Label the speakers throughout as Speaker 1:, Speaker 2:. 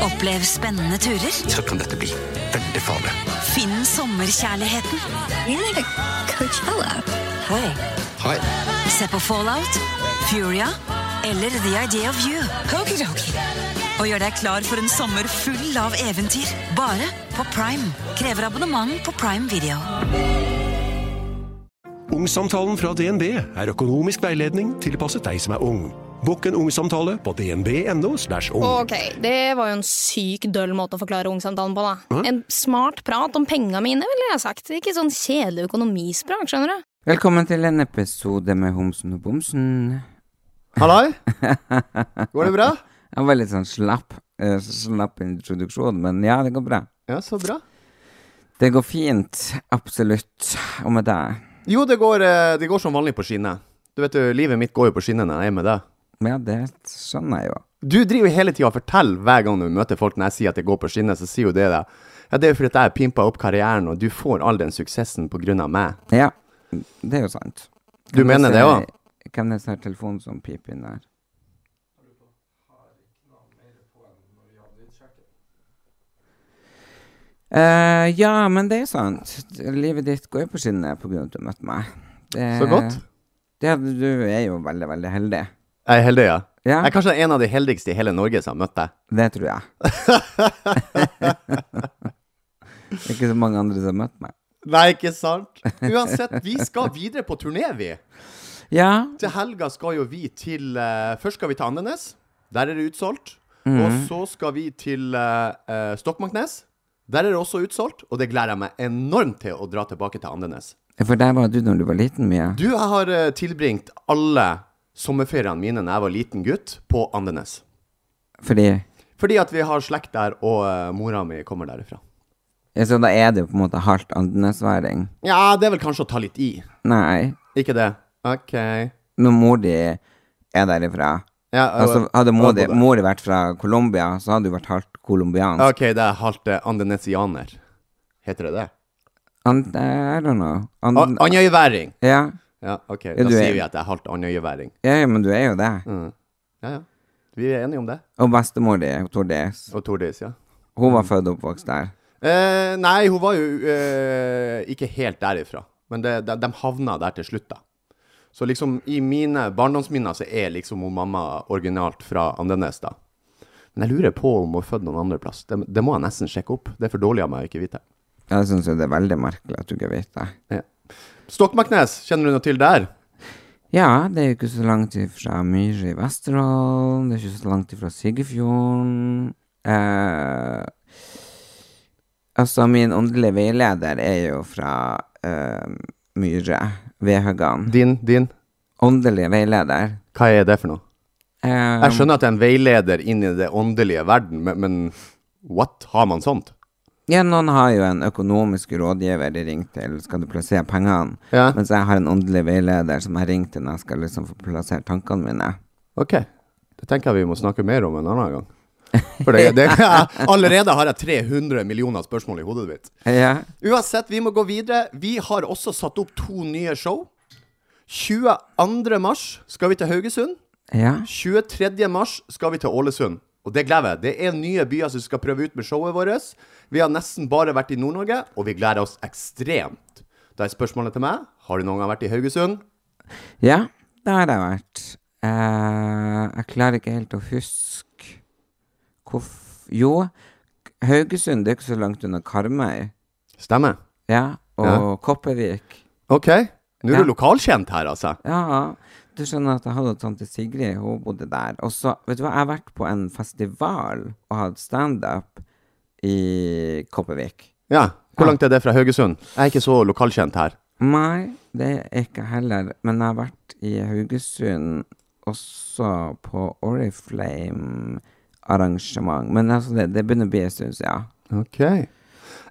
Speaker 1: Opplev spennende turer.
Speaker 2: Så kan dette bli veldig farlig.
Speaker 1: Finn sommerkjærligheten. Oi.
Speaker 2: Hei.
Speaker 1: Se på Fallout, Furia eller The Idea of You. Og gjør deg klar for en sommer full av eventyr. Bare på Prime. Krever abonnement på Prime Video.
Speaker 3: Ungsamtalen fra DNB er økonomisk veiledning tilpasset deg som er ung. Bokk en ungsamtale på dnb.no. slash ung.
Speaker 4: Ok, det var jo en syk døll måte å forklare ungsamtalen på, da. En smart prat om penga mine, ville jeg sagt. Ikke sånn kjedelig økonomisprat, skjønner du.
Speaker 5: Velkommen til en episode med Homsen og Bomsen.
Speaker 6: Halloi! Går det bra?
Speaker 5: Jeg var litt sånn slapp, eh, slapp introduksjon, men ja, det går bra.
Speaker 6: Ja, så bra.
Speaker 5: Det går fint, absolutt. Og med deg?
Speaker 6: Jo, det går, eh, det går som vanlig på skinner. Du vet jo, livet mitt går jo på skinner når jeg er med deg.
Speaker 5: Ja, det skjønner jeg jo.
Speaker 6: Du driver jo hele tida og forteller hver gang du møter folk når jeg sier at jeg går på skinner, så sier jo det deg. Ja, det er jo fordi at jeg har pimpa opp karrieren, og du får all den suksessen på grunn av meg.
Speaker 5: Ja, det er jo sant.
Speaker 6: Du mener det òg?
Speaker 5: Hvem er det som har telefonen som piper inn der? Eh, ja, men det er sant. Livet ditt går jo på skinner på grunn av at du møtte meg. Det-
Speaker 6: Så godt.
Speaker 5: Ja, du er jo veldig, veldig heldig.
Speaker 6: Jeg er heldig, ja.
Speaker 5: Ja.
Speaker 6: Jeg er kanskje en av de heldigste i hele Norge som har møtt deg.
Speaker 5: Det tror jeg. det er ikke så mange andre som har møtt meg.
Speaker 6: Nei, ikke sant? Uansett, vi skal videre på turné, vi.
Speaker 5: Ja,
Speaker 6: Til helga skal jo vi til eh, Først skal vi til Andenes. Der er det utsolgt. Og så skal vi til eh, eh, Stokmarknes. Der er det også utsolgt, og det gleder jeg meg enormt til å dra tilbake til Andenes.
Speaker 5: for der var du når du var liten, Mia.
Speaker 6: Du, jeg har eh, tilbringt alle sommerferiene mine da jeg var liten gutt, på Andenes.
Speaker 5: Fordi
Speaker 6: Fordi at vi har slekt der, og eh, mora mi kommer derifra.
Speaker 5: ja, Så da er det jo på en måte halvt andenesværing.
Speaker 6: Ja, det er vel kanskje å ta litt i.
Speaker 5: Nei,
Speaker 6: Ikke det? OK.
Speaker 5: når mor di er derifra
Speaker 6: Ja, øh,
Speaker 5: Altså, hadde mor
Speaker 6: øh,
Speaker 5: di,
Speaker 6: både.
Speaker 5: mor di vært fra Colombia, så hadde hun vært halvt colombiansk.
Speaker 6: OK, det er halvt eh, andenesianer. Heter det det?
Speaker 5: And, eh, I don't know. And,
Speaker 6: An- Andøyværing.
Speaker 5: ja.
Speaker 6: Ja, ok.
Speaker 5: du
Speaker 6: Da
Speaker 5: er-
Speaker 6: sier vi at jeg er halvt andøyeværing.
Speaker 5: ja, ja, men du er jo det.
Speaker 6: Ja, ja. Vi er enige om det.
Speaker 5: Og bestemor di, Tordis,
Speaker 6: Og Tordis, ja.
Speaker 5: hun var født og oppvokst der.
Speaker 6: Eh, nei, hun var jo eh, ikke helt derifra. Men det, de, de havna der til slutt, da. Så liksom i mine barndomsminner så er liksom hun mamma originalt fra Andenes, da. Men jeg lurer på om hun er født noen andre plass. Det, det må jeg nesten sjekke opp. Det er for dårlig av meg å ikke vite.
Speaker 5: Jeg syns jo det er veldig merkelig at du ikke vet det.
Speaker 6: Ja. Stokmarknes, kjenner du noe til der?
Speaker 5: Ja, det er jo ikke så langt ifra Myhre i Vesterålen, det er ikke så langt ifra Siggefjorden. Eh, altså, min åndelige veileder er jo fra eh, Myhre, Vedhøgan.
Speaker 6: Din? Din?
Speaker 5: Åndelige veileder.
Speaker 6: Hva er det for noe?
Speaker 5: Eh,
Speaker 6: Jeg skjønner at det er en veileder inn i det åndelige verden, men, men what? Har man sånt?
Speaker 5: ja, noen har jo en økonomisk rådgiver de ringer til, skal du plassere pengene?
Speaker 6: Ja.
Speaker 5: Mens jeg har en åndelig veileder som jeg ringer til når jeg skal liksom få plassert tankene mine.
Speaker 6: Ok, det tenker jeg vi må snakke mer om en annen gang. For det, det, allerede har jeg 300 millioner spørsmål i hodet mitt.
Speaker 5: Ja.
Speaker 6: Uansett, vi må gå videre. Vi har også satt opp to nye show. 22. mars skal vi til Haugesund.
Speaker 5: Ja.
Speaker 6: 23. mars skal vi til Ålesund. Og det gleder jeg. Det er nye byer som skal prøve ut med showet vårt. Vi har nesten bare vært i Nord-Norge, og vi gleder oss ekstremt. Da er spørsmålet til meg, har du noen gang vært i Haugesund?
Speaker 5: Ja, det har jeg vært. Eh, jeg klarer ikke helt å huske hvorf... Jo, Haugesund det er ikke så langt unna Karmøy.
Speaker 6: Stemmer.
Speaker 5: Ja, og
Speaker 6: Ja.
Speaker 5: Kopervik.
Speaker 6: Ok, nå er
Speaker 5: Ja.
Speaker 6: du lokalkjent her, altså.
Speaker 5: Ja, du skjønner at jeg hadde tante Sigrid, hun bodde der. Og så, vet du hva, jeg har vært på en festival og hatt standup i Kopervik.
Speaker 6: Ja, hvor langt er det fra Haugesund? Jeg er ikke så lokalkjent her.
Speaker 5: Nei, det er ikke heller. Men jeg har vært i Haugesund også på Oriflame-arrangement. Men altså, det, det begynner å bli en stund siden.
Speaker 6: Ok. Jeg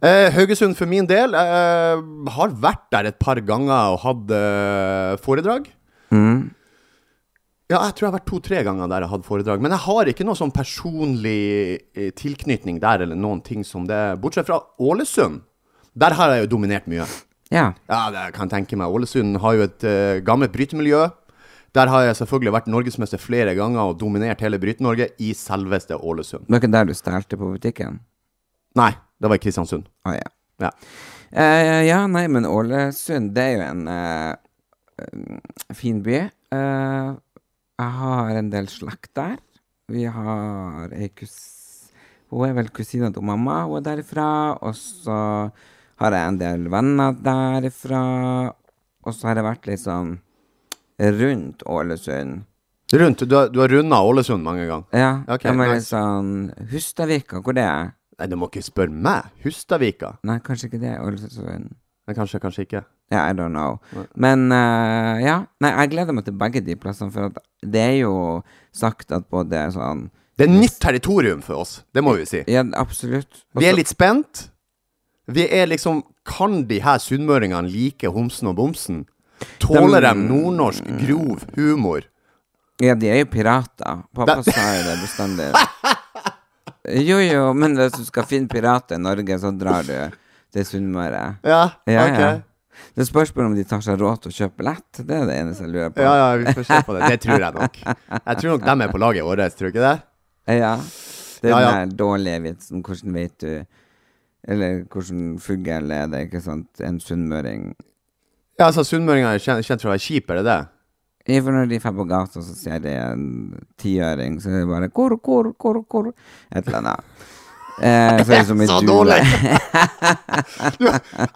Speaker 6: Eh, Haugesund for min del eh, har vært der et par ganger og hatt eh, foredrag. Ja, jeg tror jeg har vært to-tre ganger der jeg har hatt foredrag. Men jeg har ikke noe sånn personlig eh, tilknytning der, eller noen ting som det. Bortsett fra Ålesund. Der har jeg jo dominert mye.
Speaker 5: Ja.
Speaker 6: Ja, det kan jeg tenke meg. Ålesund har jo et eh, gammelt brytemiljø. Der har jeg selvfølgelig vært norgesmester flere ganger og dominert hele Bryte-Norge i selveste Ålesund.
Speaker 5: Det var ikke der du stjelte på butikken?
Speaker 6: Nei, det var i Kristiansund.
Speaker 5: Å ja.
Speaker 6: Ja.
Speaker 5: Eh, ja, nei, men Ålesund, det er jo en eh, um, fin by. Eh, jeg har en del slekt der. Vi har ei kus... Hun er vel kusina til mamma, hun er derifra. Og så har jeg en del venner derifra. Og så har jeg vært litt sånn rundt Ålesund.
Speaker 6: Rundt, du har, du har runda Ålesund mange ganger.
Speaker 5: Ja,
Speaker 6: Ok,
Speaker 5: jeg var litt
Speaker 6: nice.
Speaker 5: sånn Hustadvika, hvor det er?
Speaker 6: Nei, du må ikke spørre meg. Hustadvika.
Speaker 5: Nei, kanskje ikke det. er Ålesund.
Speaker 6: Nei, Kanskje, kanskje ikke.
Speaker 5: Ja, I don't know. Men eh, ja. Nei, jeg gleder meg til begge de plassene, for at det er jo sagt at både sånn
Speaker 6: Det er nytt territorium for oss, det må vi si.
Speaker 5: Ja, Altså- absolutt. Og
Speaker 6: Vi er
Speaker 5: så-
Speaker 6: litt spent. Vi er liksom Kan de her sunnmøringene like homsen og bomsen? Tåler de nordnorsk grov humor?
Speaker 5: Ja, de er jo pirater. Pappa sa jo det bestandig. Jo, jo, men hvis du skal finne pirater i Norge, så drar du til Sunnmøre.
Speaker 6: Ja, ok.
Speaker 5: Det spørs bare om de tar seg råd til å kjøpe billett. Det er det eneste jeg lurer på.
Speaker 6: Ja, ja, vi får se på det. Det tror jeg nok. Jeg tror nok de er på laget vårt, tror du ikke det?
Speaker 5: Ja. Det er
Speaker 6: Ja, ja.
Speaker 5: den der dårlige vitsen. Hvordan vet du Eller hvordan fugl er det, ikke sant? En sunnmøring.
Speaker 6: Ja, altså Sunnmøringer er kjent, kjent for å være kjipe, er det det?
Speaker 5: Ja, For når de drar på gata, så ser de en tiøring, så er det bare kor, kor, kor, kor. Et eller annet. Eh, så er det som i
Speaker 6: Så
Speaker 5: Dula.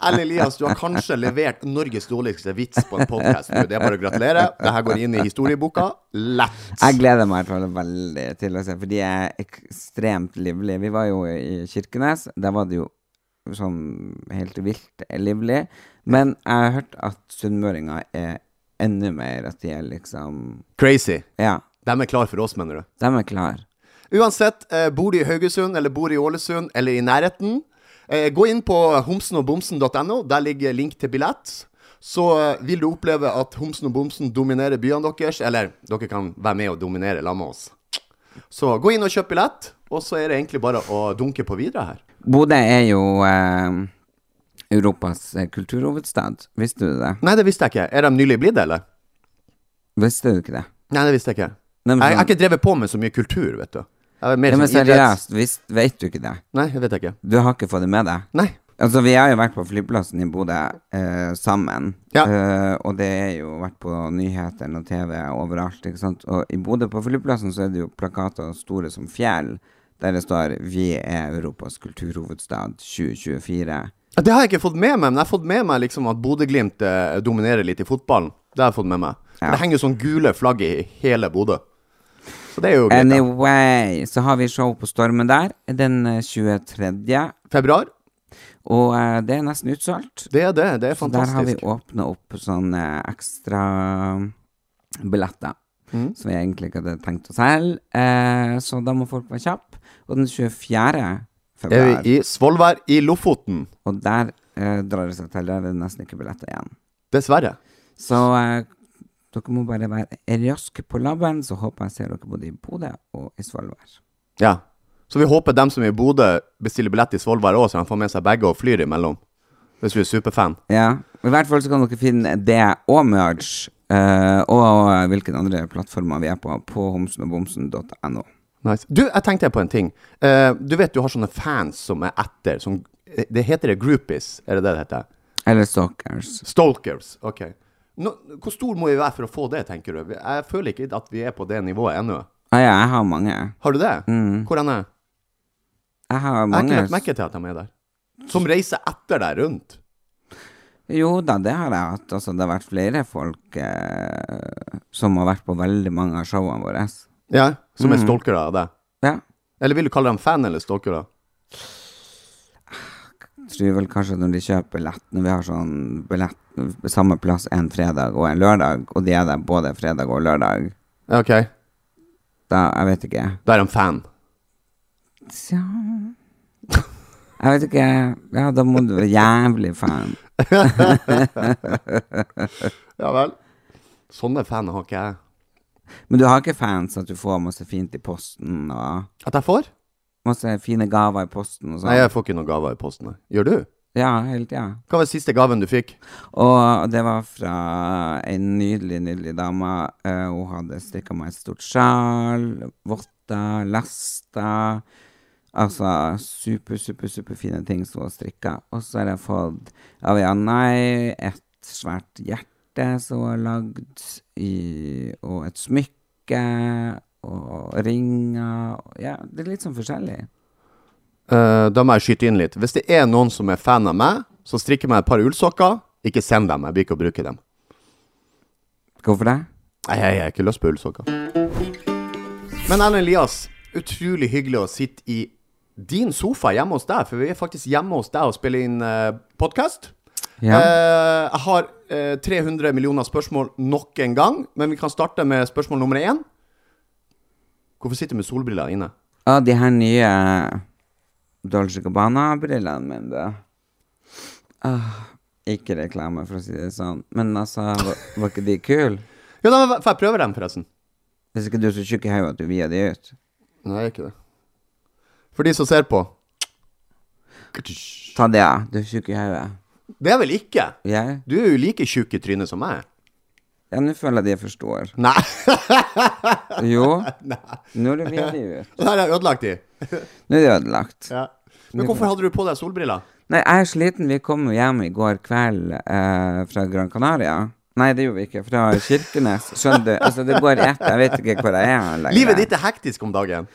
Speaker 6: Eller Elias, du har kanskje levert Norges dårligste vits på en podkast nå. Det er bare å gratulere. Dette går inn i historieboka lett.
Speaker 5: Jeg gleder meg i hvert fall veldig til å se, for de er ekstremt livlige. Vi var jo i Kirkenes, der var det jo sånn helt vilt livlig. Men jeg har hørt at sunnmøringer er enda mer at de er liksom
Speaker 6: Crazy.
Speaker 5: Ja,
Speaker 6: De er klar for oss, mener du?
Speaker 5: de er klar.
Speaker 6: Uansett, eh, bor du i Haugesund, eller bor du i Ålesund, eller i nærheten, eh, gå inn på homsenogbomsen.no. Der ligger link til billett. Så eh, vil du oppleve at Homsen og Bomsen dominerer byene deres, eller dere kan være med og dominere sammen med oss. Så gå inn og kjøp billett, og så er det egentlig bare å dunke på videre her.
Speaker 5: Bodø er jo eh, Europas eh, kulturhovedstad. Visste du det?
Speaker 6: Nei, det visste jeg ikke. Er de nylig blitt det, eller?
Speaker 5: Visste du ikke det?
Speaker 6: Nei, det visste jeg ikke.
Speaker 5: Nei, men
Speaker 6: Jeg jeg har
Speaker 5: sånn-
Speaker 6: ikke drevet på med så mye kultur, vet du. Jeg er mer
Speaker 5: Ja, men
Speaker 6: sånn idretts-
Speaker 5: seriøst, visst, vet du ikke det?
Speaker 6: Nei, det vet jeg ikke.
Speaker 5: Du har ikke fått det med deg?
Speaker 6: Nei.
Speaker 5: Altså, vi har jo vært på flyplassen i Bodø eh, sammen.
Speaker 6: Ja.
Speaker 5: Eh, og det er jo vært på nyhetene og TV overalt, ikke sant. Og i Bodø på flyplassen så er det jo plakater store som fjell, der det står 'Vi er Europas kulturhovedstad 2024'.
Speaker 6: Ja, Det har jeg ikke fått med meg, men jeg har fått med meg liksom at Bodø-Glimt eh, dominerer litt i fotballen. Det har jeg fått med meg.
Speaker 5: Ja.
Speaker 6: Det henger jo sånn gule flagg i hele Bodø. Så det er jo greit. da.
Speaker 5: Anyway, så har vi show på Stormen der den eh, 23.
Speaker 6: Februar,
Speaker 5: Og eh, det er nesten utsolgt.
Speaker 6: det er det. Det er
Speaker 5: Så der har vi
Speaker 6: fantastisk.
Speaker 5: åpna opp sånne ekstra eh, billetter.
Speaker 6: Mm.
Speaker 5: Som vi egentlig ikke hadde tenkt å selge. Eh, så da må folk være kjappe. Og den 24.
Speaker 6: Er
Speaker 5: februar,
Speaker 6: vi i Svolvær i Lofoten?
Speaker 5: og der eh, drar det seg til. Der er det nesten ikke billetter igjen.
Speaker 6: Dessverre.
Speaker 5: Så eh, dere må bare være raske på labben, så håper jeg ser dere både i Bodø og i Svolvær.
Speaker 6: Ja. Så vi håper dem som er i Bodø, bestiller billett i Svolvær òg, så de får med seg begge og flyr imellom. Hvis du er superfan.
Speaker 5: Ja. I hvert fall så kan dere finne det og merge, eh, og hvilke andre plattformer vi er på, på homsenogbomsen.no.
Speaker 6: Nice. Du, jeg tenkte på en ting. Eh, du vet du har sånne fans som er etter som, eh, Det heter det groupies, er det det det heter?
Speaker 5: Eller Stalkers.
Speaker 6: Stalkers. Ok. Nå, hvor stor må vi være for å få det, tenker du? Jeg føler ikke at vi er på det nivået ennå.
Speaker 5: Ah, Ja, ja, jeg har mange.
Speaker 6: Har du det? Hvor han er?
Speaker 5: Jeg har
Speaker 6: Jeg har
Speaker 5: mange.
Speaker 6: ikke lagt merke til at de er der. Som reiser etter deg rundt.
Speaker 5: Jo da, det har jeg hatt. Altså, det har vært flere folk eh, som har vært på veldig mange av showene våre.
Speaker 6: Ja. Mm. Som er stalkere av deg.
Speaker 5: Ja.
Speaker 6: Eller vil du kalle dem fan eller stalkere?
Speaker 5: Tror vel kanskje når de kjøper billett, når vi har sånn billett samme plass en fredag og en lørdag, og de er der både fredag og lørdag,
Speaker 6: Ja, Ok.
Speaker 5: da Jeg vet ikke.
Speaker 6: Da er de fan.
Speaker 5: Tja Jeg vet ikke Ja, da må du være jævlig fan.
Speaker 6: Ja vel. Sånne fan har ikke jeg.
Speaker 5: Men du har ikke fans at du får masse fint i posten og
Speaker 6: At jeg får?
Speaker 5: Masse fine gaver i posten og sånn?
Speaker 6: Nei, jeg får ikke noen gaver i posten. jeg. Gjør du?
Speaker 5: Ja, hele tida.
Speaker 6: Hva var siste gaven du fikk?
Speaker 5: Og det var fra ei nydelig, nydelig dame. Eh, hun hadde strikka meg et stort sjal, votter, laster. Altså super, super, superfine ting som hun har strikka. Og så har jeg fått av Janai et svært hjerte som hun har lagd, i, og et smykke. Og ringer og Ja, det er litt sånn forskjellig.
Speaker 6: Eh, da må jeg skyte inn litt. Hvis det er noen som er fan av meg, så strikker meg et par ullsokker. Ikke send dem, jeg blir ikke å bruke dem.
Speaker 5: Hvorfor det?
Speaker 6: Nei, jeg har ikke lyst på ullsokker. Men Erlend Elias, utrolig hyggelig å sitte i din sofa hjemme hos deg, for vi er faktisk hjemme hos deg og spiller inn uh, podkast.
Speaker 5: Ja.
Speaker 6: jeg har eh, 300 millioner spørsmål nok en gang, men vi kan starte med spørsmål nummer én. Hvorfor sitter du med solbriller inne?
Speaker 5: Ja, de her nye eh, Dolce Gabbana-brillene mine, da. Ah, ikke reklame, for å si det sånn. Men altså, var, var ikke de kule?
Speaker 6: Jo, da får jeg prøve dem, forresten.
Speaker 5: Hvis ikke du er så tjukk i hodet at du vier de ut.
Speaker 6: Nei, ikke det. For de som ser på.
Speaker 5: Ta det av. Du er tjukk i hodet.
Speaker 6: Det er vel ikke?
Speaker 5: Jeg?
Speaker 6: Du er jo like tjukk i trynet som meg.
Speaker 5: Ja, nå føler jeg de forstår.
Speaker 6: Nei,
Speaker 5: Jo. Nå er det vier de ut.
Speaker 6: der har jeg ødelagt de.
Speaker 5: Nå er de ødelagt.
Speaker 6: Men hvorfor hadde du på deg solbriller?
Speaker 5: Nei, jeg er sliten. Vi kom jo hjem i går kveld eh, fra Gran Canaria. Nei, det gjorde vi ikke. Fra Kirkenes. Skjønner du? Altså, det går i ett. Jeg vet ikke hvor jeg er lenger.
Speaker 6: Livet ditt er hektisk om dagen.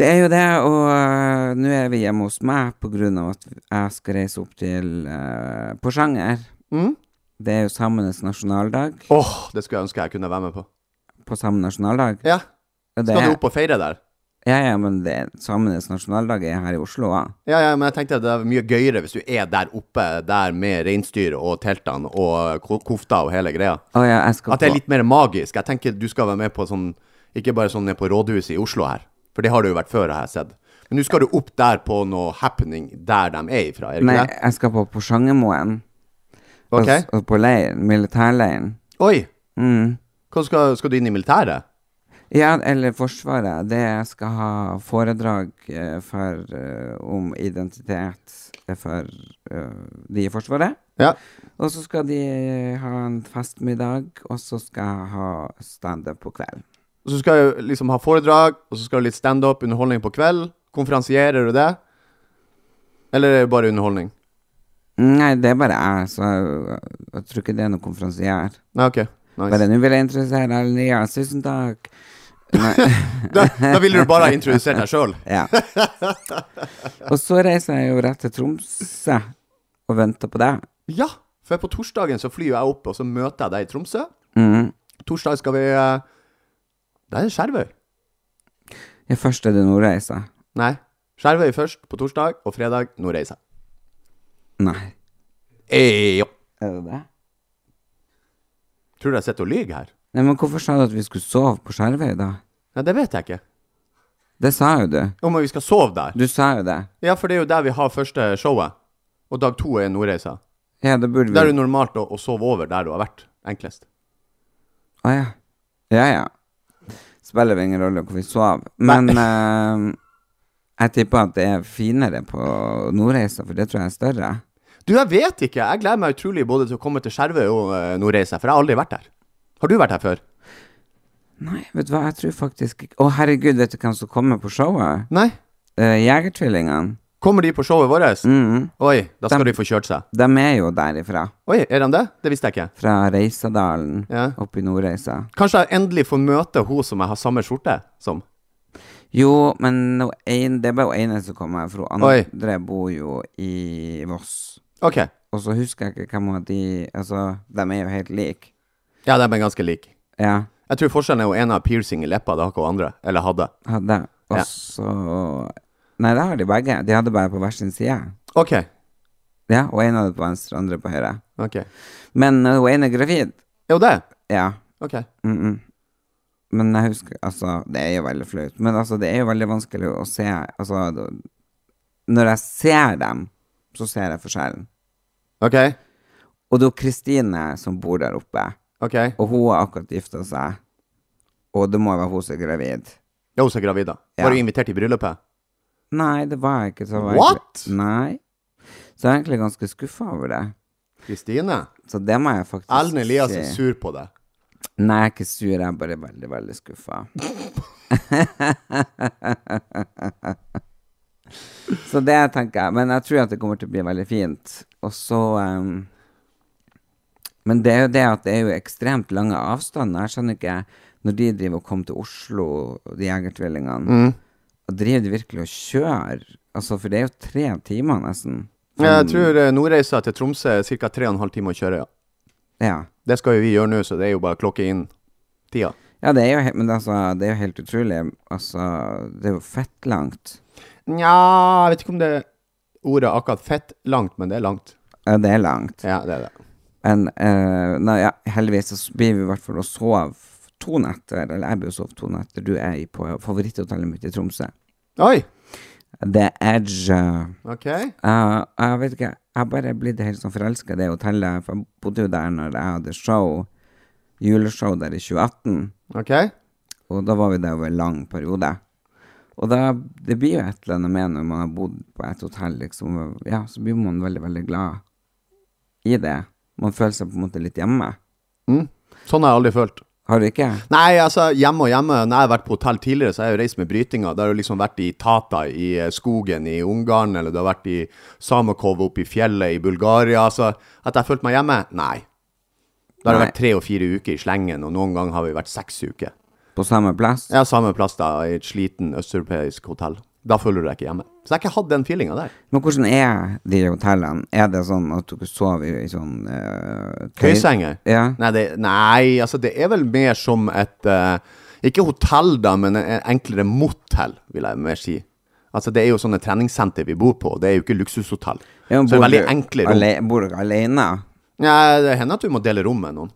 Speaker 5: Det er jo det, og øh, nå er vi hjemme hos meg på grunn av at jeg skal reise opp til øh, Porsanger.
Speaker 6: Mm.
Speaker 5: Det er jo samenes nasjonaldag.
Speaker 6: Åh, det skulle jeg ønske jeg kunne være med på.
Speaker 5: På samme nasjonaldag.
Speaker 6: Ja.
Speaker 5: Og det
Speaker 6: Skal du
Speaker 5: er,
Speaker 6: opp og feire der?
Speaker 5: ja, ja, men det, samenes nasjonaldag er her i Oslo òg.
Speaker 6: Ja, ja, men jeg tenkte at det er mye gøyere hvis du er der oppe der med reinsdyr og teltene og ko- kofta og hele greia.
Speaker 5: Å ja, jeg skal
Speaker 6: At det er
Speaker 5: på-
Speaker 6: litt mer magisk. Jeg tenker du skal være med på sånn Ikke bare sånn ned på rådhuset i Oslo her, for det har du jo vært før, har jeg sett. Men nå skal du opp der på noe happening der de er ifra, er det
Speaker 5: Nei,
Speaker 6: ikke
Speaker 5: jeg skal på Porsangermoen. Og
Speaker 6: det?
Speaker 5: s- Og på leiren. Militærleiren.
Speaker 6: Ok. Oi!
Speaker 5: Mm.
Speaker 6: Hva skal, skal du inn i militæret?
Speaker 5: Ja, eller Forsvaret. Det jeg skal ha foredrag eh, for, eh, om identitet eh, for eh, de i Forsvaret.
Speaker 6: Ja.
Speaker 5: Og så skal de eh, ha en festmiddag, og så skal jeg ha standup på kvelden.
Speaker 6: Og så skal du liksom ha foredrag, og så skal du litt standup, underholdning på kveld. Konferansierer du det? Eller er det bare underholdning?
Speaker 5: Nei, det er bare jeg, så jeg, jeg tror ikke det er noen konferansier.
Speaker 6: Nei, OK. Nice.
Speaker 5: Bare nå vil jeg interessere alle nye, tusen takk. Nei,
Speaker 6: Da, da ville du bare ha introdusert deg sjøl.
Speaker 5: ja. Og så reiser jeg jo rett til Tromsø og venter på deg.
Speaker 6: Ja, for på torsdagen så flyr jeg opp, og så møter jeg deg i Tromsø.
Speaker 5: Mm.
Speaker 6: Torsdag skal vi eh, Det er Skjervøy.
Speaker 5: Ja, først er det Nordreisa.
Speaker 6: Nei. Skjervøy først på torsdag, og fredag Nordreisa.
Speaker 5: Nei.
Speaker 6: Eh, jo.
Speaker 5: Er det det?
Speaker 6: Tror du jeg sitter og lyver her?
Speaker 5: Nei, men hvorfor sa du at vi skulle sove på Skjervøy, da?
Speaker 6: Nei, det vet jeg ikke.
Speaker 5: Det sa jo du.
Speaker 6: Jo, men vi skal sove der.
Speaker 5: Du sa jo det.
Speaker 6: Ja, for det er jo der vi har første showet. Og dag to er Nordreisa.
Speaker 5: Ja, da burde vi
Speaker 6: Det er jo normalt å, å sove over der du har vært. Enklest.
Speaker 5: Å ja. Ja ja. Spiller ingen rolle hvor vi sov. Men eh, jeg tipper at det er finere på Nordreisa, for det tror jeg er større.
Speaker 6: Du, jeg vet ikke. Jeg gleder meg utrolig både til å komme til Skjervøy og eh, Nordreisa, for jeg har aldri vært der. Har du vært her før?
Speaker 5: Nei, vet du hva, jeg tror faktisk ikke Å herregud, vet du hvem som kommer på showet?
Speaker 6: Nei.
Speaker 5: Uh, Jegertvillingene.
Speaker 6: Kommer de på showet vårt?
Speaker 5: Mm.
Speaker 6: Oi, da skal
Speaker 5: Dem-
Speaker 6: de få kjørt seg.
Speaker 5: De er jo derifra.
Speaker 6: Oi, er de det? Det visste jeg ikke.
Speaker 5: Fra Reisadalen
Speaker 6: Ja.
Speaker 5: oppe i Nordreisa.
Speaker 6: Kanskje jeg endelig får møte hun som jeg har samme skjorte som.
Speaker 5: Jo, men nå en, det er bare hun ene som kommer herfra.
Speaker 6: Oi.
Speaker 5: Andre bor jo i Voss.
Speaker 6: Ok.
Speaker 5: Og så husker jeg ikke hvem av de Altså, de er jo helt like.
Speaker 6: Ja, de er ganske like.
Speaker 5: Ja.
Speaker 6: Jeg tror forskjellen er jo en har piercing i leppa, det har ikke hun andre. Eller hadde.
Speaker 5: hadde. Og
Speaker 6: Ja.
Speaker 5: så Nei, det har de begge. De hadde bare på hver sin side.
Speaker 6: Ok.
Speaker 5: Ja, Og en hadde på venstre, andre på høyre.
Speaker 6: Ok.
Speaker 5: Men øh, hun ene er gravid.
Speaker 6: Er hun det?
Speaker 5: Ja.
Speaker 6: Ok.
Speaker 5: Mm -mm. Men jeg husker Altså, det er jo veldig flaut. Men altså, det er jo veldig vanskelig å se Altså, når jeg ser dem, så ser jeg forskjellen.
Speaker 6: OK?
Speaker 5: Og det er jo Kristine som bor der oppe,
Speaker 6: ok
Speaker 5: og hun har akkurat gifta seg. Og det må jo være hun som er gravid.
Speaker 6: Ja, hun er gravid, da.
Speaker 5: Ja.
Speaker 6: Var du invitert i bryllupet?
Speaker 5: Nei, det var jeg ikke. Så jeg var
Speaker 6: What?
Speaker 5: Egentlig, nei. Så jeg er egentlig ganske skuffa over det.
Speaker 6: Kristine?
Speaker 5: Så det må jeg faktisk
Speaker 6: Ellen Elias er
Speaker 5: si.
Speaker 6: sur på deg.
Speaker 5: Nei, jeg er ikke sur. Jeg er bare veldig, veldig skuffa. så det tenker jeg. Men jeg tror at det kommer til å bli veldig fint. Og så em, Men det er jo det at det er jo ekstremt lange avstander. Jeg skjønner ikke Når de driver og kommer til Oslo, de jegertvillingene,
Speaker 6: Mm.
Speaker 5: og driver de virkelig og kjører? Altså, for det er jo tre timer, nesten.
Speaker 6: Jeg tror eh, nordreisa til Tromsø er ca. 3,5 timer å kjøre, ja.
Speaker 5: Ja.
Speaker 6: Det skal jo vi gjøre nå, så det er jo bare klokke inn tida.
Speaker 5: Ja, det er jo, he- men altså, det er jo helt utrolig. Altså, det er jo fett langt.
Speaker 6: Nja, jeg vet ikke om det ordet er akkurat fett langt, men det er langt.
Speaker 5: Ja, det er langt.
Speaker 6: Ja, det er det.
Speaker 5: Men eh, nei, ja, heldigvis så s- blir vi i hvert fall å sove to netter, eller jeg blir å sove to netter. Du er i- på favoritthotellet mitt i Tromsø.
Speaker 6: Oi!
Speaker 5: The Edge.
Speaker 6: OK.
Speaker 5: Eh, jeg vet ikke, jeg har bare blitt helt sånn forelska i det hotellet. For jeg bodde jo der når jeg hadde show, juleshow der i 2018.
Speaker 6: ok
Speaker 5: Og da var vi der over en lang periode. Og da, det blir jo et eller annet med når man har bodd på et hotell, liksom. og- Ja, så blir man veldig, veldig glad i det. Man føler seg på en måte litt hjemme.
Speaker 6: Mm. Sånn har jeg aldri følt.
Speaker 5: Har du ikke?
Speaker 6: Nei, altså, hjemme og hjemme. Når jeg har vært på hotell tidligere, så har jeg jo reist med brytinga. Da har du liksom vært i Tata i eh, skogen i Ungarn, eller du har vært i Samakov oppe i fjellet i Bulgaria. Altså, at jeg har følt meg hjemme? Nei. Da har det
Speaker 5: Nei.
Speaker 6: vært tre og fire uker i slengen, og noen ganger har vi vært seks uker.
Speaker 5: På samme plass?
Speaker 6: Jeg har samme plass da, i et sliten østeuropeisk hotell. Da føler du deg ikke hjemme. Så jeg har ikke hatt den feelinga der.
Speaker 5: Men hvordan er de hotellene? Er det sånn at dere sover i, i sånn eh, tøy-
Speaker 6: Køysenger?
Speaker 5: Ja.
Speaker 6: Nei, det, nei, altså det er vel mer som et eh, Ikke hotell, da, men en enklere motell, vil jeg mer si. Altså Det er jo sånne treningssenter vi bor på, det er jo ikke luksushotell.
Speaker 5: Ja, men
Speaker 6: så det er
Speaker 5: bor du
Speaker 6: veldig enkle rom.
Speaker 5: ale- Bor dere alene?
Speaker 6: Ja, det hender at du må dele rom med noen.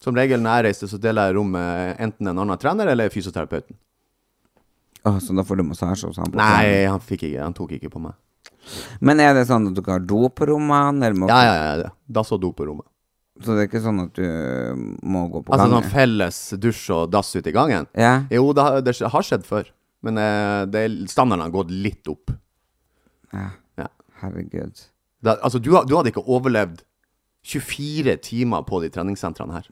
Speaker 6: Som regel når jeg reiser, så deler jeg rom med enten en annen trener eller fysioterapeuten.
Speaker 5: Å, så da får du massasje og sånn? på hotellet.
Speaker 6: Nei, han, fikk ikke, han tok ikke på meg.
Speaker 5: Men er det sånn at dere har do på rommene? Eller må,
Speaker 6: Ja, ja, ja, ja. Dass og do på rommet.
Speaker 5: Så det er ikke sånn at du må gå på
Speaker 6: Altså
Speaker 5: gangen?
Speaker 6: sånn felles dusj og dass ute i gangen?
Speaker 5: Ja.
Speaker 6: Jo, det har, det har skjedd før. Men eh, det, er- standarden har gått litt opp. Ja.
Speaker 5: Herregud.
Speaker 6: Da, altså, du, ha- du hadde ikke overlevd 24 timer på de treningssentrene her.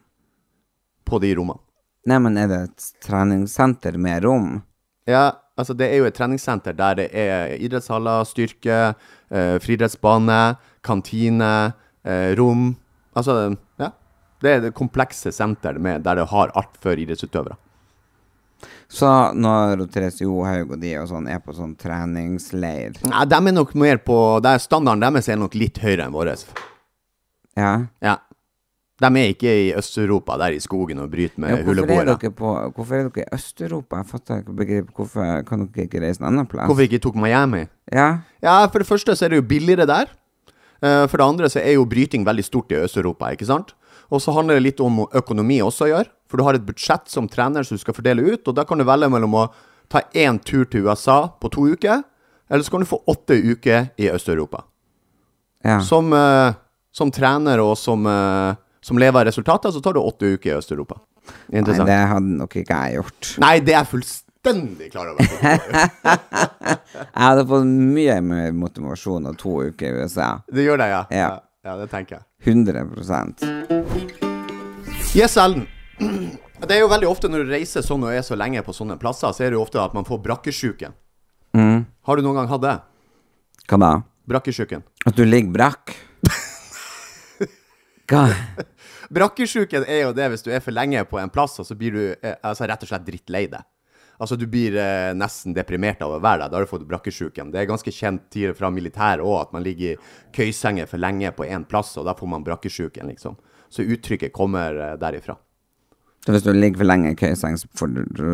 Speaker 6: På de rommene.
Speaker 5: Nei, men er det et treningssenter med rom?
Speaker 6: Ja, altså, det er jo et treningssenter der det er idrettshaller, styrke, eh, friidrettsbane, kantine, eh, rom Altså, ja. Det er det komplekse senter med, der det har alt for idrettsutøvere.
Speaker 5: Så når Therese Johaug og de og sånn er på sånn treningsleir
Speaker 6: Nei, de er nok mer på der Standarden deres er nok litt høyere enn vår.
Speaker 5: Ja?
Speaker 6: Ja. De er ikke i Øst-Europa, der i skogen og bryter med
Speaker 5: ja hvorfor, er
Speaker 6: huleboere.
Speaker 5: dere på, hvorfor er dere i Øst-Europa? Jeg fatter ikke begriper Hvorfor kan dere ikke reise en annen plass?
Speaker 6: Hvorfor ikke tok Miami?
Speaker 5: Ja?
Speaker 6: Ja, for det første så er det jo billigere der. Eh, For det andre så er jo bryting veldig stort i Øst-Europa, ikke sant? Og så handler det litt om økonomi også å gjøre, for du har et budsjett som trener som du skal fordele ut, og da kan du velge mellom å ta én tur til USA på to uker, eller så kan du få åtte uker i Øst-Europa.
Speaker 5: ja.
Speaker 6: Som, eh, som trener og som, eh, som lever av resultater, så tar du åtte uker i Øst-Europa.
Speaker 5: Nei,
Speaker 6: Interessant.
Speaker 5: det hadde nok ikke jeg gjort.
Speaker 6: Nei, det er jeg fullstendig klar over.
Speaker 5: Jeg hadde fått mye mer motivasjon av to uker i USA.
Speaker 6: Det gjør det, ja.
Speaker 5: Ja.
Speaker 6: ja det tenker jeg.
Speaker 5: 100
Speaker 6: Yes, Ellen. Det er jo veldig ofte når du reiser sånn og er så lenge på sånne plasser, så er det jo ofte at man får brakkesjuken. Har du noen gang hatt det?
Speaker 5: Hva da?
Speaker 6: Brakkesjuken.
Speaker 5: At du ligger brakk? Hva?
Speaker 6: Brakkesjuken er jo det hvis du er for lenge på en plass, og så blir du eh, altså, rett og slett drittlei deg. Altså, du blir eh, nesten deprimert av å være der. Da har du fått brakkesjuken. Det er ganske kjent tid fra militæret òg, at man ligger i køysenger for lenge på én plass, og da får man brakkesjuken, liksom. Så uttrykket kommer eh, derifra.
Speaker 5: Så hvis du ligger for lenge i køyeseng, så får du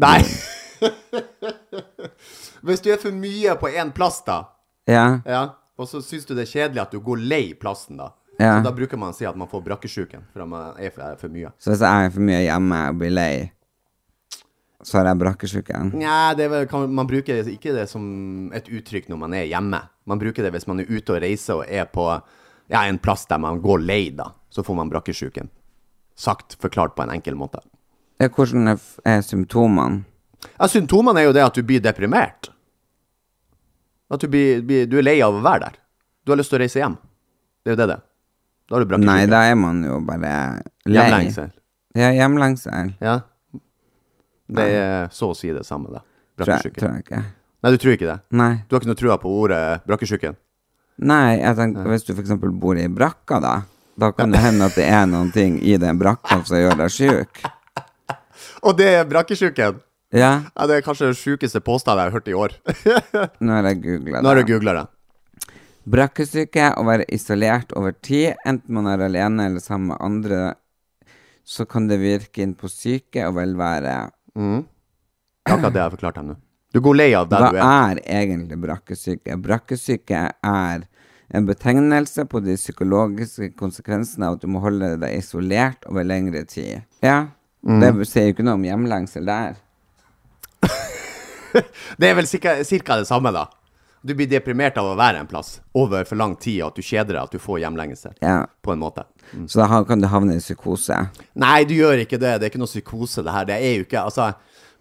Speaker 6: Nei! Hvis du er for mye på én plass, da,
Speaker 5: Ja?
Speaker 6: ja, og så syns du det er kjedelig at du går lei plassen, da,
Speaker 5: Ja.
Speaker 6: så da bruker man å si at man får brakkesjuken, for man er for, er for mye.
Speaker 5: Så hvis jeg er for mye hjemme og blir lei Så har jeg brakkesjuken.
Speaker 6: Nja, det er vel- kan, man bruker ikke det som et uttrykk når man er hjemme. Man bruker det hvis man er ute og reiser og er på ja, en plass der man går lei, da. Så får man brakkesjuken. Sagt forklart på en enkel måte.
Speaker 5: Ja, Hvordan er, f- er symptomene?
Speaker 6: Ja, symptomene er jo det at du blir deprimert. At du, blir, blir, du er lei av å være der. Du har lyst til å reise hjem. Det er jo det det er. Da har du brakkesjuken.
Speaker 5: Nei, da er man jo bare lei.
Speaker 6: Hjemlengsel.
Speaker 5: Ja, hjemlengsel.
Speaker 6: Ja. Det er så å si det samme, det.
Speaker 5: Tror jeg,
Speaker 6: Brakkesjuken.
Speaker 5: tror jeg ikke.
Speaker 6: Nei, du tror ikke det?
Speaker 5: Nei.
Speaker 6: Du har ikke noe trua på ordet brakkesjuken?
Speaker 5: Nei, jeg tenker, hvis du for eksempel bor i brakka da, da kan det hende at det er noen ting i den brakka som gjør deg syk.
Speaker 6: Og det er brakkesjuken!
Speaker 5: Ja,
Speaker 6: Ja, det er kanskje den sjukeste påstanden jeg har hørt i år.
Speaker 5: nå har jeg googlet
Speaker 6: Nå har
Speaker 5: det.
Speaker 6: jeg googla det.
Speaker 5: Brakkesyke, å være isolert over tid, enten man er alene eller sammen med andre, så kan det virke inn på syke og velvære.
Speaker 6: Det er akkurat det jeg har forklart deg nå. Du går lei av der
Speaker 5: Hva
Speaker 6: du er.
Speaker 5: er egentlig brakkesyke? Brakkesyke er en betegnelse på de psykologiske konsekvensene av at du må holde deg isolert over lengre tid. Ja,
Speaker 6: Mm.
Speaker 5: det sier jo ikke noe om hjemlengsel der.
Speaker 6: Det er vel cirka, cirka det samme, da. Du blir deprimert av å være en plass over for lang tid, og at du kjeder deg, at du får hjemlengelse.
Speaker 5: Ja.
Speaker 6: På en måte.
Speaker 5: Så da ha- kan du havne i psykose.
Speaker 6: Nei, du gjør ikke det. Det er ikke noe psykose, det her. Det er jo ikke Altså,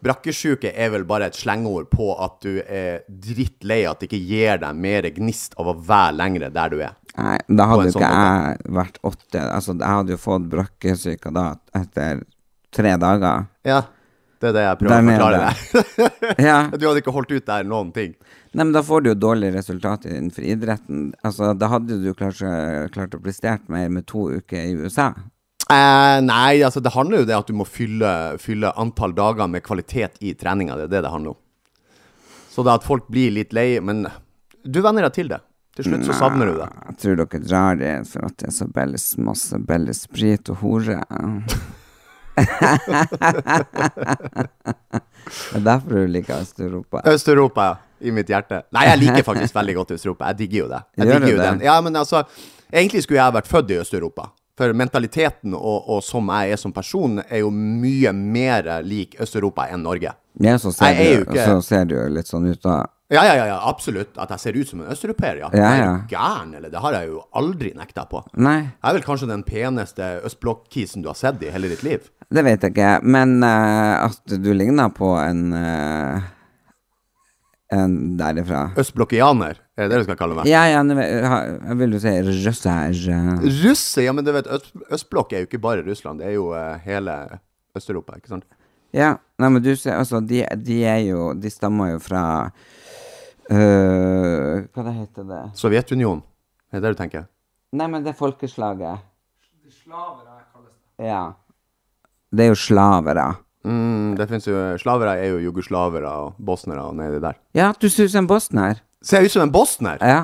Speaker 6: brakkesjuke er vel bare et slengord på at du er drittlei at det ikke gir deg mer gnist av å være lengre der du er.
Speaker 5: Nei, da
Speaker 6: På en
Speaker 5: hadde jo
Speaker 6: sånn
Speaker 5: ikke jeg vært åtte. Altså, jeg hadde jo fått brakkesyke da etter tre dager.
Speaker 6: Ja. Det er det jeg
Speaker 5: Der
Speaker 6: prøver å forklare
Speaker 5: nede.
Speaker 6: deg.
Speaker 5: Ja.
Speaker 6: Du hadde ikke holdt ut der noen ting.
Speaker 5: Nei, men da får du jo dårlig resultat innenfor idretten. Altså, da hadde du kanskje klart å prestert mer med to uker i USA.
Speaker 6: Eh, nei, altså det handler jo det at du må fylle, fylle antall dager med kvalitet i treninga. Det er det det handler om. Så det at folk blir litt lei Men du venner deg til det. Til slutt så savner du det.
Speaker 5: Jeg tror dere drar dit for at det er så belles masse belles sprit og hore. det er derfor du liker Øst-Europa.
Speaker 6: Øst-Europa i mitt hjerte. Nei, jeg liker faktisk veldig godt Øst-Europa. Jeg digger jo det. Jeg
Speaker 5: Gjør
Speaker 6: digger
Speaker 5: du
Speaker 6: jo
Speaker 5: det?
Speaker 6: den. Ja, men altså, egentlig skulle jeg vært født i Øst-Europa. For mentaliteten og, og som jeg er som person, er jo mye mer lik Øst-Europa enn Norge.
Speaker 5: Ja, så ser,
Speaker 6: Jeg er jo
Speaker 5: du,
Speaker 6: ikke-
Speaker 5: så ser du jo litt sånn ut da.
Speaker 6: Ja, ja, ja, ja, absolutt. At jeg ser ut som en østeuropeer, ja.
Speaker 5: Ja,
Speaker 6: Jeg Er
Speaker 5: ja.
Speaker 6: du gæren, eller? Det har jeg jo aldri nekta på.
Speaker 5: Nei,
Speaker 6: Jeg er vel kanskje den peneste østblokk-kisen du har sett i hele ditt liv.
Speaker 5: det vet jeg ikke. Men eh, at du ligner på en eh, En derifra.
Speaker 6: Østblokkianer, er det det du skal kalle meg?
Speaker 5: Ja, ja, nå vet- ha- jeg vil jo si russer. eh.
Speaker 6: Russe, ja, men du vet, øst, østblokk er jo ikke bare Russland, det er jo eh, hele Øst-Europa, ikke sant?
Speaker 5: Ja, nei, men du ser, altså, de, de er jo De stammer jo fra eh, Hva det heter det?
Speaker 6: Sovjetunionen, er det det du tenker?
Speaker 5: Nei, men det er folkeslaget. Slavere, kalles det. Ja. Det er jo slavere.
Speaker 6: Mm, det finnes jo, slavere er jo jugoslavere og bosnere og nedi der.
Speaker 5: Ja, du ser ut som en bosner.
Speaker 6: Ser jeg ut som en bosner?
Speaker 5: Ja.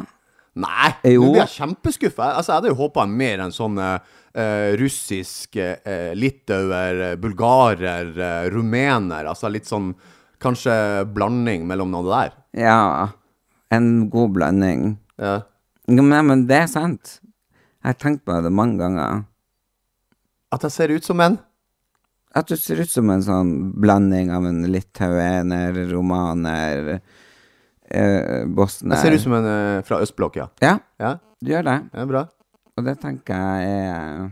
Speaker 6: Nei,
Speaker 5: Jo.
Speaker 6: nå blir jeg kjempeskuffa. Altså, jeg hadde jo håpa mer enn sånn eh, eh, russisk eh, litauer, eh, bulgarer, eh, rumener. Altså litt sånn kanskje blanding mellom noe der.
Speaker 5: Ja. En god blanding.
Speaker 6: Ja.
Speaker 5: Ja, men- Nei, men det er sant. Jeg har tenkt på det mange ganger.
Speaker 6: At jeg ser ut som en
Speaker 5: At du ser ut som en sånn blanding av en litauener, romaner, eh, bosner
Speaker 6: Jeg ser ut som en eh, fra østblokk, ja.
Speaker 5: Ja,
Speaker 6: Ja,
Speaker 5: du gjør det.
Speaker 6: det er bra.
Speaker 5: Og det tenker jeg er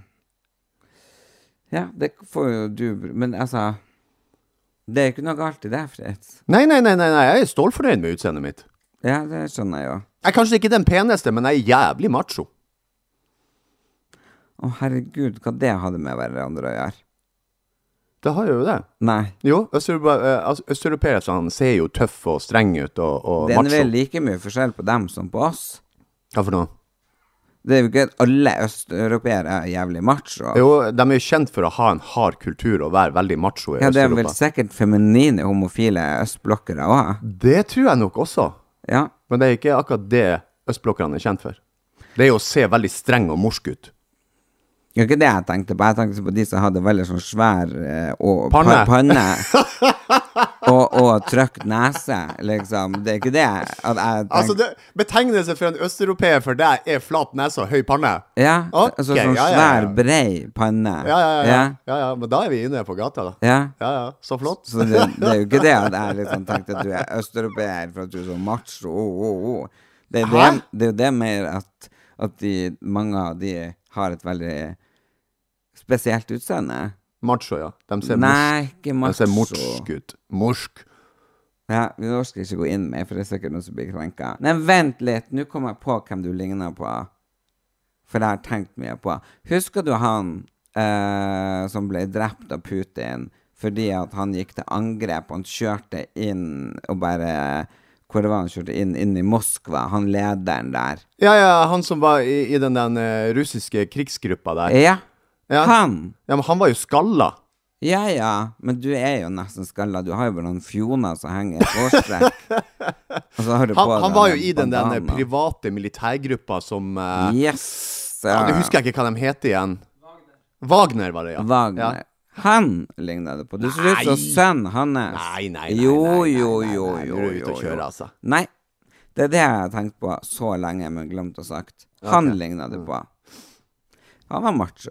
Speaker 5: Ja, det får jo du Men altså Det er jo ikke noe galt i det, Fritz.
Speaker 6: Nei, nei, nei, nei, nei. jeg er stålfornøyd med utseendet mitt.
Speaker 5: Ja, det skjønner jeg jo.
Speaker 6: Jeg er kanskje ikke den peneste, men jeg er jævlig macho.
Speaker 5: Å, herregud, hva det hadde med hverandre å gjøre?
Speaker 6: Det har jeg jo det.
Speaker 5: Nei.
Speaker 6: Jo, østeuropa- eh, altså, østeuropeerne ser jo tøff og streng ut og, og
Speaker 5: Det er
Speaker 6: macho.
Speaker 5: vel like mye forskjell på dem som på oss.
Speaker 6: Hva for noe?
Speaker 5: Det er jo ikke at alle østeuropeere er jævlig macho.
Speaker 6: Jo, de er jo kjent for å ha en hard kultur og være veldig macho i
Speaker 5: Ja, det er vel
Speaker 6: Øst-Europa.
Speaker 5: sikkert feminine homofile østblokkere òg.
Speaker 6: Det tror jeg nok også,
Speaker 5: Ja.
Speaker 6: men det er ikke akkurat det østblokkerne er kjent for. Det er jo å se veldig streng og morsk ut.
Speaker 5: Det var ikke det jeg tenkte på. Jeg tenkte på de som hadde veldig sånn svær eh, og, pa-
Speaker 6: Panne.
Speaker 5: panne og, og trøkt nese, liksom. Det er ikke det at jeg tenkte
Speaker 6: Altså, det, betegnelse for en østeuropeer for deg er flat nese og høy panne?
Speaker 5: Ja,
Speaker 6: Ok,
Speaker 5: altså sånn
Speaker 6: ja, ja,
Speaker 5: svær,
Speaker 6: ja.
Speaker 5: brei panne.
Speaker 6: Ja ja ja, ja, ja, ja. Men da er vi inne på gata, da.
Speaker 5: Ja.
Speaker 6: Ja, ja. Så flott.
Speaker 5: Så det, det er jo ikke det at jeg liksom tenkte at du er østeuropeer for at du er så macho. Oh, oh, oh. Det, er det,
Speaker 6: Hæ?
Speaker 5: det er jo det mer at, at de, mange av de har et veldig spesielt utseende.
Speaker 6: Macho, ja. De ser
Speaker 5: Nei, ikke
Speaker 6: morsk- de
Speaker 5: macho.
Speaker 6: ser morsk ut. Morsk.
Speaker 5: Ja, vi orker ikke gå inn med, for det er sikkert noen som blir krenka. Nei, vent litt, nå kom jeg på hvem du ligner på. For det har jeg tenkt mye på. Husker du han eh, som ble drept av Putin fordi at han gikk til angrep? Han kjørte inn og bare Hvor var han kjørte inn? Inn i Moskva. Han lederen der.
Speaker 6: Ja, ja, han som var i, i den, den eh, russiske krigsgruppa der.
Speaker 5: Ja,
Speaker 6: Ja.
Speaker 5: han!
Speaker 6: Ja, men han var jo skalla.
Speaker 5: Ja ja, men du er jo nesten skalla. Du har jo bare noen fjoner som henger i et hårstrekk. Og så har du
Speaker 6: Han,
Speaker 5: på
Speaker 6: han
Speaker 5: deg
Speaker 6: var jo
Speaker 5: den
Speaker 6: i den, den eh,
Speaker 5: bandanaen.
Speaker 6: private militærgruppa som eh,
Speaker 5: Yes!
Speaker 6: ja,
Speaker 5: sir.
Speaker 6: Nå husker jeg ikke hva de heter igjen. Wagner, var det, ja.
Speaker 5: Wagner.
Speaker 6: Ja.
Speaker 5: Han ligner det på. Du ser ut som sønnen hans.
Speaker 6: Nei, nei, nei,
Speaker 5: Jo,
Speaker 6: nei, nei,
Speaker 5: jo,
Speaker 6: nei, nei,
Speaker 5: jo,
Speaker 6: nei,
Speaker 5: jo.
Speaker 6: nå er du ute
Speaker 5: jo,
Speaker 6: å kjøre,
Speaker 5: jo.
Speaker 6: altså.
Speaker 5: Nei. Det er det jeg har tenkt på så lenge, men glemt å sagt. Han ligner
Speaker 6: Mm.
Speaker 5: det på. Han var macho.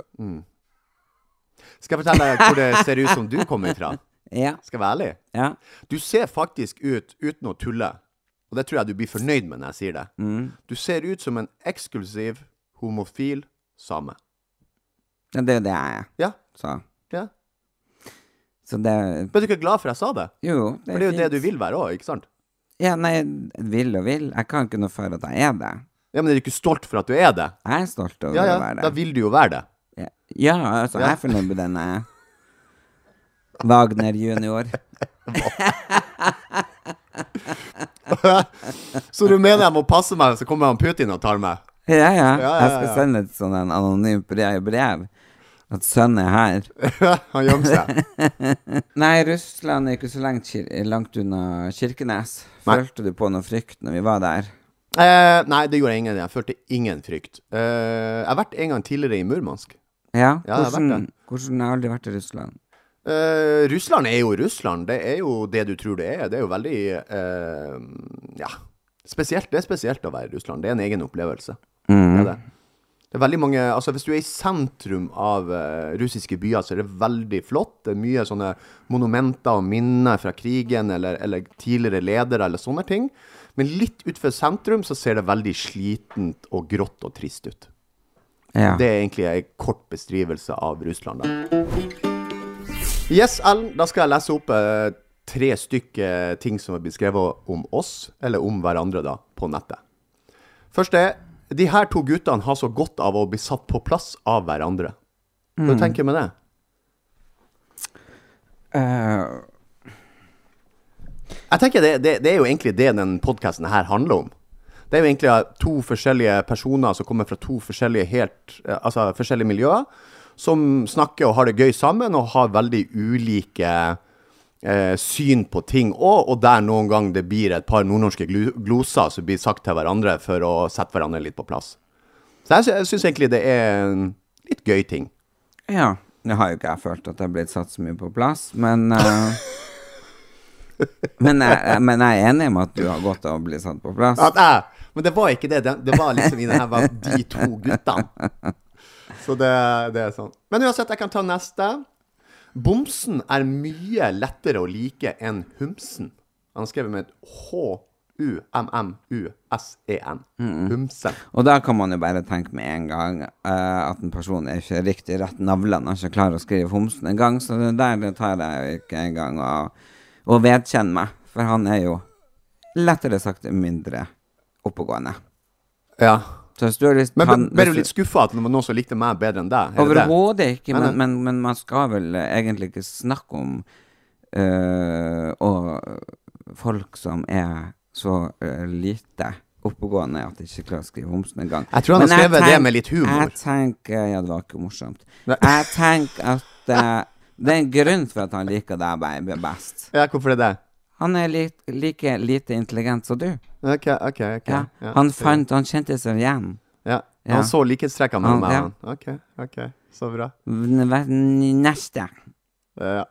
Speaker 6: Skal jeg fortelle deg hvor det ser ut som du kommer fra?
Speaker 5: Ja.
Speaker 6: Skal jeg være ærlig?
Speaker 5: ja.
Speaker 6: Du ser faktisk ut, uten å tulle, og det tror jeg du blir fornøyd med når jeg sier det,
Speaker 5: Mm.
Speaker 6: du ser ut som en eksklusiv homofil same.
Speaker 5: Ja, Det er jo det jeg er.
Speaker 6: Ja,
Speaker 5: Så,
Speaker 6: ja.
Speaker 5: så det
Speaker 6: Ble du ikke glad for jeg sa det?
Speaker 5: Jo, det er,
Speaker 6: For det er jo det
Speaker 5: fint.
Speaker 6: du vil være òg, ikke sant?
Speaker 5: Ja, nei, vil og vil. Jeg kan ikke noe for at jeg er det.
Speaker 6: Ja, Men er du ikke stolt for at du er det?
Speaker 5: Jeg er stolt over
Speaker 6: Ja, ja,
Speaker 5: å være det.
Speaker 6: da vil du jo være det.
Speaker 5: Ja, ja altså, jeg er fornøyd med den jeg er. Wagner junior.
Speaker 6: Så du mener jeg må passe meg, så kommer han Putin og tar meg?
Speaker 5: Ja, ja.
Speaker 6: ja,
Speaker 5: Jeg skal
Speaker 6: ja.
Speaker 5: sende et sånn en anonymt brev, brev. At sønnen er her.
Speaker 6: han gjemmer seg.
Speaker 5: Nei, Russland er ikke så langt, kir langt unna Kirkenes.
Speaker 6: Nei.
Speaker 5: Følte du på noe frykt når vi var der?
Speaker 6: Eh, nei, det gjorde jeg ingen. Jeg følte ingen frykt. Eh, jeg har vært en gang tidligere i Murmansk.
Speaker 5: Ja?
Speaker 6: Ja, jeg har vært
Speaker 5: hvordan, hvordan jeg har aldri vært i Russland?
Speaker 6: Eh, Russland er jo Russland. Det er jo det du tror det er. Det er jo veldig eh, Ja. Spesielt, det er spesielt å være i Russland. Det er en egen opplevelse. Det, er det. det er veldig mange Altså, hvis du er i sentrum av eh, russiske byer, så er det veldig flott. Det er mye sånne monumenter og minner fra krigen eller, eller tidligere ledere eller sånne ting. Men litt utenfor sentrum så ser det veldig slitent og grått og trist ut.
Speaker 5: Ja.
Speaker 6: Det er egentlig en kort beskrivelse av Russland. Da. Yes, Ellen, da skal jeg lese opp eh, tre stykker ting som er beskrevet om oss, eller om hverandre, da, på nettet. Først er de her to guttene har så godt av å bli satt på plass av hverandre.
Speaker 5: Mm.
Speaker 6: Hva tenker du med det?
Speaker 5: Eh,
Speaker 6: Jeg tenker det, det, det er jo egentlig det den podkasten her handler om. Det er jo egentlig to forskjellige personer som kommer fra to forskjellige, helt, eh, altså, forskjellige miljøer, som snakker og har det gøy sammen, og har veldig ulike eh, syn på ting. Og, og der noen gang det blir et par nordnorske glu- gloser som blir sagt til hverandre for å sette hverandre litt på plass. Så jeg, sy- jeg syns egentlig det er en litt gøy ting.
Speaker 5: ja. Nå har jo ikke jeg følt at jeg har blitt satt så mye på plass, men eh, men, jeg, men jeg er enig med at du har godt av å bli satt på plass.
Speaker 6: At jeg Men det var ikke det. Det, det var liksom i det her var de to guttene. Så det, det er sånn. Men uansett, jeg kan ta neste. Bomsen er mye lettere å like enn humsen. Han skrev med et H-U-M-M-U-S-E-N. E Humsen.
Speaker 5: Og da kan man jo bare tenke med en gang eh, at en person er ikke riktig rett navlen, har ikke klarer å skrive homsen en gang, så det der det tar jeg jo ikke engang å, å vedkjenne meg, for han er jo lettere sagt mindre oppegående.
Speaker 6: Ja.
Speaker 5: Så hvis du har lyst
Speaker 6: Men
Speaker 5: han-
Speaker 6: ble- ble du
Speaker 5: hvis
Speaker 6: litt skuffa at det var noen som likte meg bedre enn deg? Er det det?
Speaker 5: Overhodet ikke,
Speaker 6: Nei,
Speaker 5: men, men, men man skal vel eh, egentlig ikke snakke om eh, og folk som er så eh, lite oppegående at de ikke klarer å skrive homsen engang.
Speaker 6: Jeg tror han har
Speaker 5: Men
Speaker 6: skrevet det
Speaker 5: tenk-
Speaker 6: med litt humor.
Speaker 5: Jeg tenker, Ja, det var ikke morsomt.
Speaker 6: Nei.
Speaker 5: Jeg tenker at eh, det er en grunn for at han liker deg be- best.
Speaker 6: Ja, hvorfor er det?
Speaker 5: Han er li like lite intelligent som du.
Speaker 6: OK, OK. ok
Speaker 5: Ja. Han fant Han kjente seg igjen.
Speaker 6: Ja.
Speaker 5: Ja.
Speaker 6: Han så likhetstrekkene mellom
Speaker 5: Ja,
Speaker 6: meg og han. Ok, ok, så bra.
Speaker 5: N- hva- n- Neste.
Speaker 6: Ja.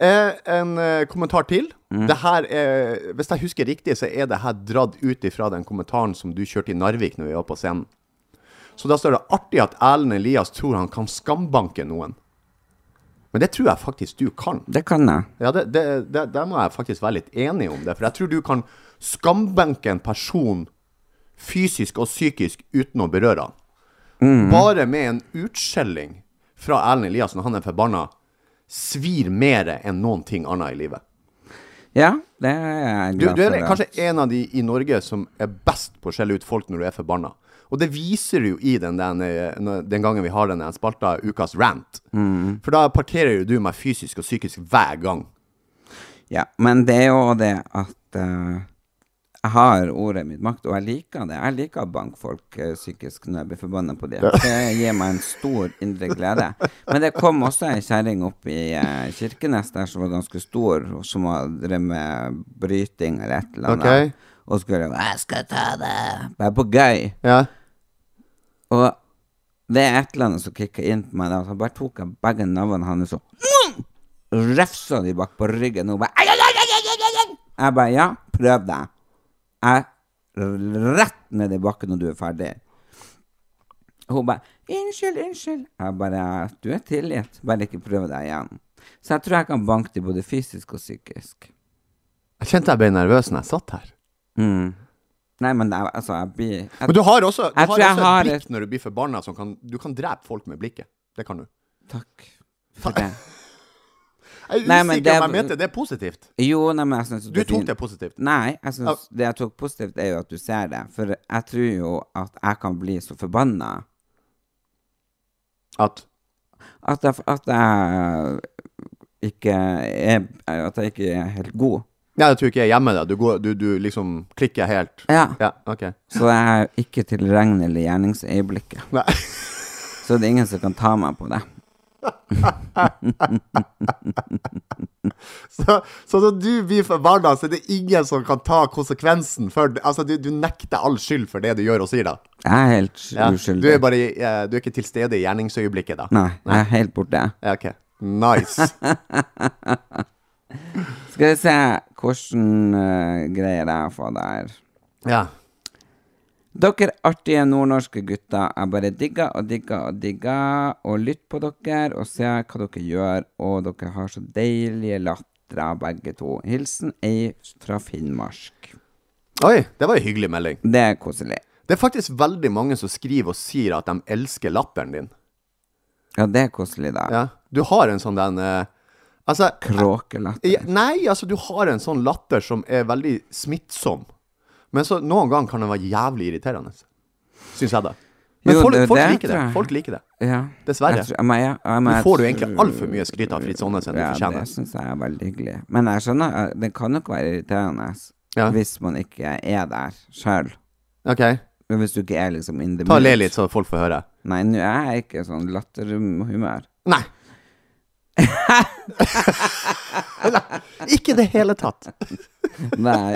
Speaker 6: Eh, en eh, kommentar til. Det her er, hvis jeg husker riktig, så er det her dratt ut ifra den kommentaren som du kjørte i Narvik når vi var på scenen. Så da står det artig at Erlend Elias tror han kan skambanke noen. Men det tror jeg faktisk du kan.
Speaker 5: Det kan jeg.
Speaker 6: Ja, det, det, det, Der må jeg faktisk være litt enig om det. For jeg tror du kan skambenke en person fysisk og psykisk uten å berøre han. Bare med en utskjelling fra Erlend Eliassen, han er forbanna, svir mer enn noen ting annet i livet.
Speaker 5: Ja, det er jeg
Speaker 6: Du,
Speaker 5: glad
Speaker 6: du er
Speaker 5: for.
Speaker 6: kanskje en av de i Norge som er best på å skjelle ut folk når du er forbanna. Og det viser du jo i den, den, eh, den gangen vi har den der spalta Ukas rant. For da parterer jo du meg fysisk og psykisk hver gang.
Speaker 5: Ja, men det er jo det at eh, jeg har ordet mitt makt, og jeg liker det. Jeg liker å banke folk eh, psykisk når jeg blir forbanna på dem. Det gir meg en stor indre glede. Men det kom også ei kjerring opp i eh, Kirkenes der som var ganske stor, og som har drevet med bryting eller et eller annet.
Speaker 6: Ok.
Speaker 5: Og skulle 'Jeg skal ta det!' Bare på gøy.
Speaker 6: Ja.
Speaker 5: Og det er et eller annet som kicka inn på meg da. Så bare tok jeg begge navnene hans og refsa de bak på ryggen. Og bare «Ai, ai, ai, ai, ai, ai, ai!» Jeg bare Ja, prøv deg. Jeg r- rett ned i bakken når du er ferdig. Og hun bare 'Unnskyld, unnskyld'. Jeg bare 'Du er tilgitt. Bare ikke prøv deg igjen'. Så jeg tror jeg kan banke dem både fysisk og psykisk.
Speaker 6: Jeg kjente jeg ble nervøs når jeg satt her.
Speaker 5: Mm. Nei, men jeg, altså, jeg blir jeg,
Speaker 6: Men du har også, du
Speaker 5: Jeg
Speaker 6: har
Speaker 5: tror jeg
Speaker 6: også
Speaker 5: har
Speaker 6: et blikk
Speaker 5: et-
Speaker 6: når du blir forbanna som kan Du kan drepe folk med blikket. Det kan du.
Speaker 5: Takk for det.
Speaker 6: Jeg er
Speaker 5: Nei,
Speaker 6: usikker
Speaker 5: men
Speaker 6: om jeg
Speaker 5: det-
Speaker 6: mente det positivt.
Speaker 5: Jo, nei, men jeg synes
Speaker 6: Du
Speaker 5: er
Speaker 6: tok
Speaker 5: fint.
Speaker 6: det positivt.
Speaker 5: Nei, jeg synes det jeg tok positivt, er jo at du ser det. For jeg tror jo at jeg kan bli så forbanna
Speaker 6: At
Speaker 5: at jeg, at jeg ikke er At jeg ikke er helt god.
Speaker 6: Nei, jeg tror ikke jeg er hjemme da. Du, går, du, du liksom klikker helt.
Speaker 5: Ja.
Speaker 6: Ja, OK.
Speaker 5: Så jeg er ikke tilregnelig i gjerningsøyeblikket.
Speaker 6: Nei.
Speaker 5: Så det er ingen som kan ta meg på det.
Speaker 6: Så, så når du blir forbanna, så er det ingen som kan ta konsekvensen for Altså, du, du nekter all skyld for det du gjør og sier, da.
Speaker 5: Jeg er helt
Speaker 6: Ja. Du
Speaker 5: uskyldig.
Speaker 6: er bare i- eh, Du er ikke til stede i gjerningsøyeblikket, da.
Speaker 5: Nei, jeg er helt borte.
Speaker 6: Ja, OK. Nice.
Speaker 5: Skal vi se hvordan eh, greier jeg får der.
Speaker 6: ja.
Speaker 5: Dere artige nordnorske gutter, jeg bare digger og digger og digger og lytter på dere og ser hva dere gjør, og dere har så deilige latra begge to. Hilsen ei fra Finnmark.
Speaker 6: Oi, det var en hyggelig melding.
Speaker 5: Det er koselig.
Speaker 6: Det er faktisk veldig mange som skriver og sier at de elsker latteren din.
Speaker 5: Ja, det er koselig, da.
Speaker 6: Ja. Du har en sånn den eh, Altså
Speaker 5: Kråkelatter.
Speaker 6: ja, Nei, altså, du har en sånn latter som er veldig smittsom. Men så noen ganger kan den være jævlig irriterende. Syns jeg, da. Men
Speaker 5: Jo,
Speaker 6: folk,
Speaker 5: det-
Speaker 6: folk
Speaker 5: det
Speaker 6: liker det.
Speaker 5: tror jeg.
Speaker 6: Folk liker det.
Speaker 5: Ja.
Speaker 6: Dessverre.
Speaker 5: Jeg tror- men jeg- ja, men
Speaker 6: Nå
Speaker 5: jeg
Speaker 6: får du egentlig
Speaker 5: tror-
Speaker 6: altfor mye skryt av Fritz Aanes enn du
Speaker 5: Ja,
Speaker 6: fortjener.
Speaker 5: det syns jeg er veldig hyggelig. Men jeg skjønner, eh, det kan nok være irriterende
Speaker 6: Ja.
Speaker 5: hvis man ikke er der sjøl.
Speaker 6: OK,
Speaker 5: Hvis du ikke er liksom in the
Speaker 6: ta og le
Speaker 5: mood.
Speaker 6: litt, så folk får høre.
Speaker 5: Nei, nå er jeg ikke sånn latterhumør.
Speaker 6: Nei. Ikke i det hele tatt.
Speaker 5: Nei.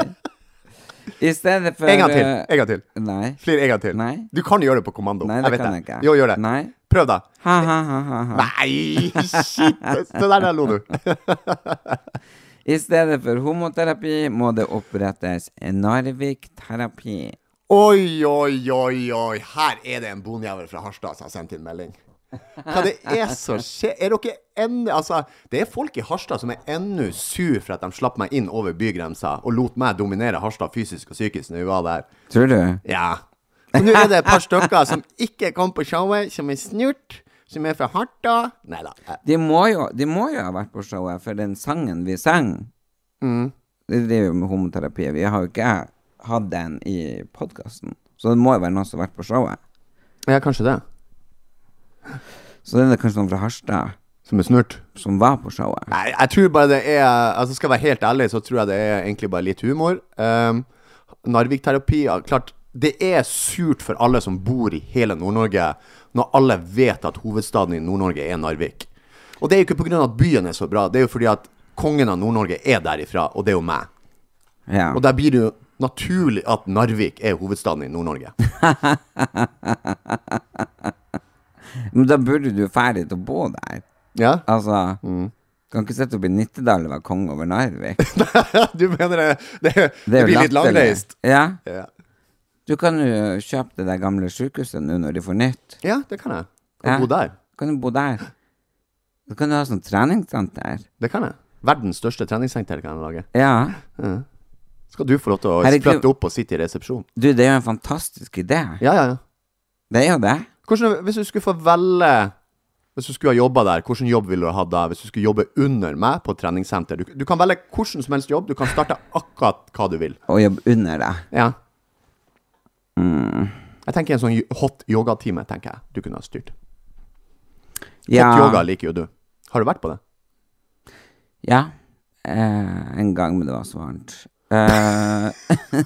Speaker 5: I stedet for
Speaker 6: En gang til.
Speaker 5: eh,
Speaker 6: En gang til.
Speaker 5: Nei.
Speaker 6: Flir en gang til.
Speaker 5: Nei.
Speaker 6: Du kan gjøre det på kommando.
Speaker 5: Nei, det
Speaker 6: jeg vet
Speaker 5: kan jeg
Speaker 6: det.
Speaker 5: ikke.
Speaker 6: Jo, gjør det.
Speaker 5: Nei.
Speaker 6: Prøv, da.
Speaker 5: Ha, ha, ha, ha, ha.
Speaker 6: Nei, shit! Det der der lo du.
Speaker 5: I stedet for homoterapi må det opprettes en Narvik-terapi.
Speaker 6: Oi, oi, oi, oi. Her er det en bondjævel fra Harstad som har sendt inn melding. Hva det er som skjer? Er dere ennå Altså, det er folk i Harstad som er ennå sur for at de slapp meg inn over bygrensa og lot meg dominere Harstad fysisk og psykisk når vi var der.
Speaker 5: Tror du?
Speaker 6: Ja. Og nå er det et par stykker som ikke kom på showet, som er snurt, som er fra Harstad Nei da.
Speaker 5: De må, jo, de må jo ha vært på showet for den sangen vi sang.
Speaker 6: Mm.
Speaker 5: Det driver jo med homoterapi. Vi har jo ikke hatt den i podkasten. Så det må jo være noen som har vært på showet.
Speaker 6: Ja, kanskje det.
Speaker 5: Så det er kanskje noen fra Harstad
Speaker 6: Som er snurt?
Speaker 5: som var på showet.
Speaker 6: Nei, jeg tror bare det er Altså Skal jeg være helt ærlig, så tror jeg det er egentlig bare litt humor. Um, Narvik-terapi ja, Klart, det er surt for alle som bor i hele Nord-Norge, når alle vet at hovedstaden i Nord-Norge er Narvik. Og det er jo ikke pga. at byen er så bra, det er jo fordi at kongen av Nord-Norge er derifra, og det er jo meg.
Speaker 5: Ja.
Speaker 6: Og der blir det jo naturlig at Narvik er hovedstaden i Nord-Norge.
Speaker 5: Men da burde du jo ferdig til å bo der.
Speaker 6: Ja?
Speaker 5: Altså
Speaker 6: Mm.
Speaker 5: Kan ikke sitte oppe i Nittedal og være konge over Narvik. Det,
Speaker 6: du mener det, det, det,
Speaker 5: er jo
Speaker 6: blir litt
Speaker 5: latterlig.
Speaker 6: langreist?
Speaker 5: Ja.
Speaker 6: Ja.
Speaker 5: Du kan jo kjøpe det der gamle sykehuset nå når de får nytt.
Speaker 6: ja, det kan jeg.
Speaker 5: Ja.
Speaker 6: Kan bo der.
Speaker 5: Kan du bo der? Da kan du ha sånn treningssenter.
Speaker 6: Det kan jeg. Verdens største treningssenter kan jeg lage.
Speaker 5: Ja.
Speaker 6: Skal du få lov til å
Speaker 5: Herregud.
Speaker 6: flytte opp og sitte i resepsjon?
Speaker 5: Du, det er jo en fantastisk idé.
Speaker 6: Ja, ja, ja.
Speaker 5: Det er jo det.
Speaker 6: Hvordan, hvis du skulle få velge Hvis du skulle ha jobba der, hvilken jobb ville du hatt da? Hvis du skulle jobbe under meg på et treningssenter? Du, du kan velge hvilken som helst jobb. Du kan starte akkurat hva du vil.
Speaker 5: Å jobbe under deg.
Speaker 6: Ja. Jeg tenker en sånn y- hot yogatime, tenker jeg. Du kunne ha styrt.
Speaker 5: Ja.
Speaker 6: Hot yoga liker jo du. Har du vært på det?
Speaker 5: ja. Eh, en gang, men det var så varmt. Eh,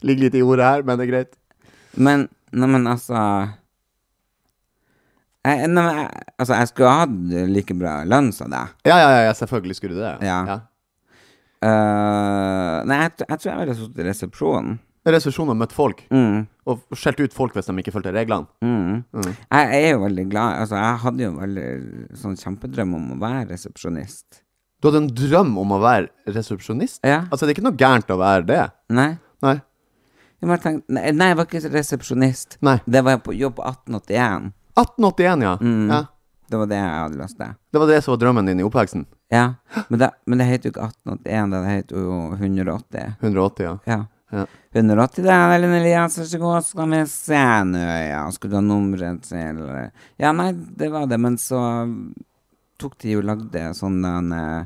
Speaker 6: Ligger litt i ordet her, men det er greit.
Speaker 5: Men, nei, men altså jeg, nei, men, jeg, altså, jeg skulle ha hatt like bra lønn som deg.
Speaker 6: Ja, ja, ja, ja selvfølgelig skulle du det.
Speaker 5: Ja. Eh, nei, jeg, tr- jeg tror jeg ville sittet i resepsjonen.
Speaker 6: Resepsjon og møtt folk.
Speaker 5: Mm,
Speaker 6: Og skjelt ut folk hvis de ikke fulgte reglene.
Speaker 5: mm. Jeg er jo veldig glad Altså, jeg hadde jo veldig sånn kjempedrøm om å være resepsjonist.
Speaker 6: Du hadde en drøm om å være resepsjonist?
Speaker 5: Ja.
Speaker 6: Altså, det er ikke noe gærent å være det.
Speaker 5: Nei?
Speaker 6: Nei.
Speaker 5: Jeg bare tenkte Nei, nei, jeg var ikke resepsjonist.
Speaker 6: Nei.
Speaker 5: Det var jeg på jobb på 1881.
Speaker 6: 1881, ja.
Speaker 5: Mm.
Speaker 6: ja.
Speaker 5: Det var det jeg hadde lyst til.
Speaker 6: Det var det som var drømmen din i oppveksten.
Speaker 5: Ja. Men det, men det heter jo ikke 1881, det heter jo 180.
Speaker 6: 180, ja.
Speaker 5: Ja.
Speaker 6: Ja.
Speaker 5: 180 der, Ellen Elias, vær så god, skal vi se nå, ja. Skulle du ha nummeret til Ja, nei, det var det, men så tok de jo lagde sånn en eh,